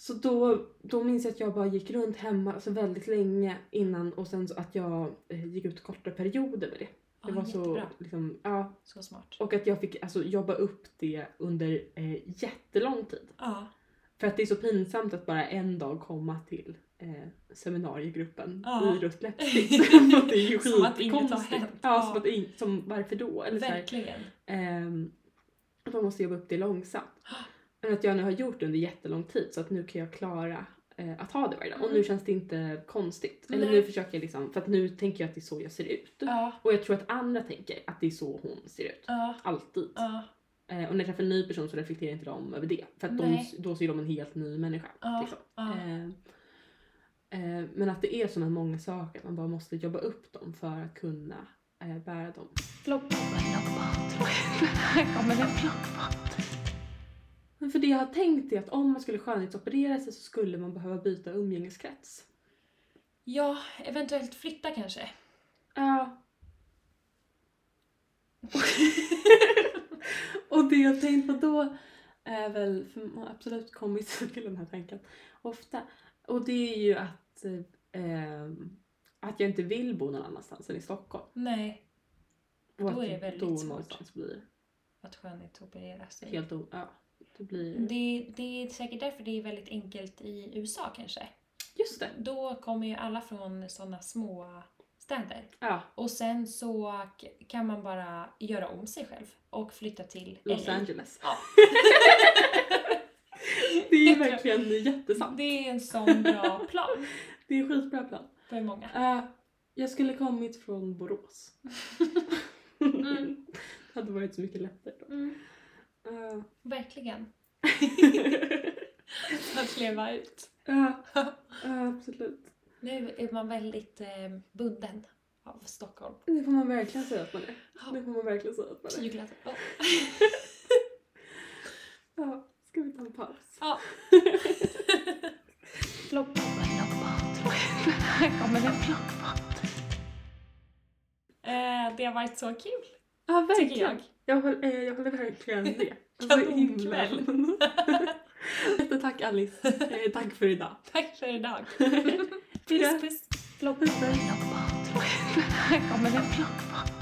S1: Så då, då minns jag att jag bara gick runt hemma alltså väldigt länge innan och sen så att jag eh, gick ut korta perioder med det. Det
S3: Ja,
S1: var så,
S3: jättebra.
S1: liksom, ja,
S3: Så smart.
S1: Och att jag fick alltså, jobba upp det under eh, jättelång tid.
S3: Ja.
S1: För att det är så pinsamt att bara en dag komma till eh, seminariegruppen
S3: Ja.
S1: i rött läppstift. För att det är ju
S3: Som att inget har
S1: skitkonstigt.
S3: hänt.
S1: Ja,
S3: Ja.
S1: som att ing- som varför då? Eller så här,
S3: Verkligen.
S1: ehm, att man måste jobba upp det långsamt. Men att jag nu har gjort det under jättelång tid så att nu kan jag klara eh, att ha det varje dag. Och nu
S3: Mm.
S1: känns det inte konstigt. Eller
S3: Nej.
S1: nu försöker jag liksom, för att nu tänker jag att det är så jag ser ut.
S3: Ja.
S1: Och jag tror att andra tänker att det är så hon ser ut.
S3: Ja.
S1: Alltid.
S3: Ja.
S1: Eh, och när jag träffar en ny person så reflekterar inte de över det. För att de,
S3: Nej.
S1: då ser de en helt ny människa.
S3: Ja.
S1: Liksom.
S3: Ja.
S1: Eh, eh, men att det är sådana många saker, att man bara måste jobba upp dem för att kunna eh, bära dem.
S3: Flockpodd. Här kommer en flockpodd.
S1: Men för det jag har tänkt är att om man skulle skönhetsoperera sig så skulle man behöva byta umgängeskrets.
S3: Ja, eventuellt flytta kanske.
S1: Ja. och det jag tänkt på då är väl, för man har absolut kommit till den här tanken ofta, och det är ju att, eh, att jag inte vill bo någon annanstans än i Stockholm.
S3: Nej,
S1: Och
S3: Då
S1: att
S3: är det väldigt
S1: då
S3: svårt.
S1: någonstans blir
S3: att skönhetsoperera sig.
S1: helt o... Ja, det blir...
S3: Det, det är säkert därför det är väldigt enkelt i USA kanske.
S1: Just det!
S3: Då kommer ju alla från sådana små städer.
S1: Ja,
S3: Och sen så k- kan man bara göra om sig själv och flytta till
S1: Los
S3: LA.
S1: Angeles.
S3: Ja.
S1: det är ju verkligen jättesant.
S3: Det är en sån bra plan
S1: Det är en skitbra plan.
S3: för många.
S1: Eh, jag skulle kommit från Borås.
S3: Mm.
S1: Det hade varit så mycket lättare då. Eh,
S3: Verkligen. Att leva ut.
S1: ja, ja, absolut.
S3: Nu är man väldigt eh, bunden av Stockholm.
S1: Det får man verkligen säga att man är.
S3: Ja.
S1: Det får man verkligen säga att man är.
S3: Tyglad. Ja.
S1: Ja, ska vi ta en paus?
S3: Ja. Plockband, plockband. Här kommer det plockband. Eh, det har varit så kul,
S1: Ja,
S3: tycker
S1: verkligen.
S3: jag.
S1: Jag. Håller, eh, jag håller verkligen med.
S3: Kanonkväll.
S1: Jättetack Alice. Eh, tack för idag.
S3: Tack för idag.
S1: Hejdå.
S3: puss.
S1: Puss, puss.
S3: Plockband. Här kommer det plockband.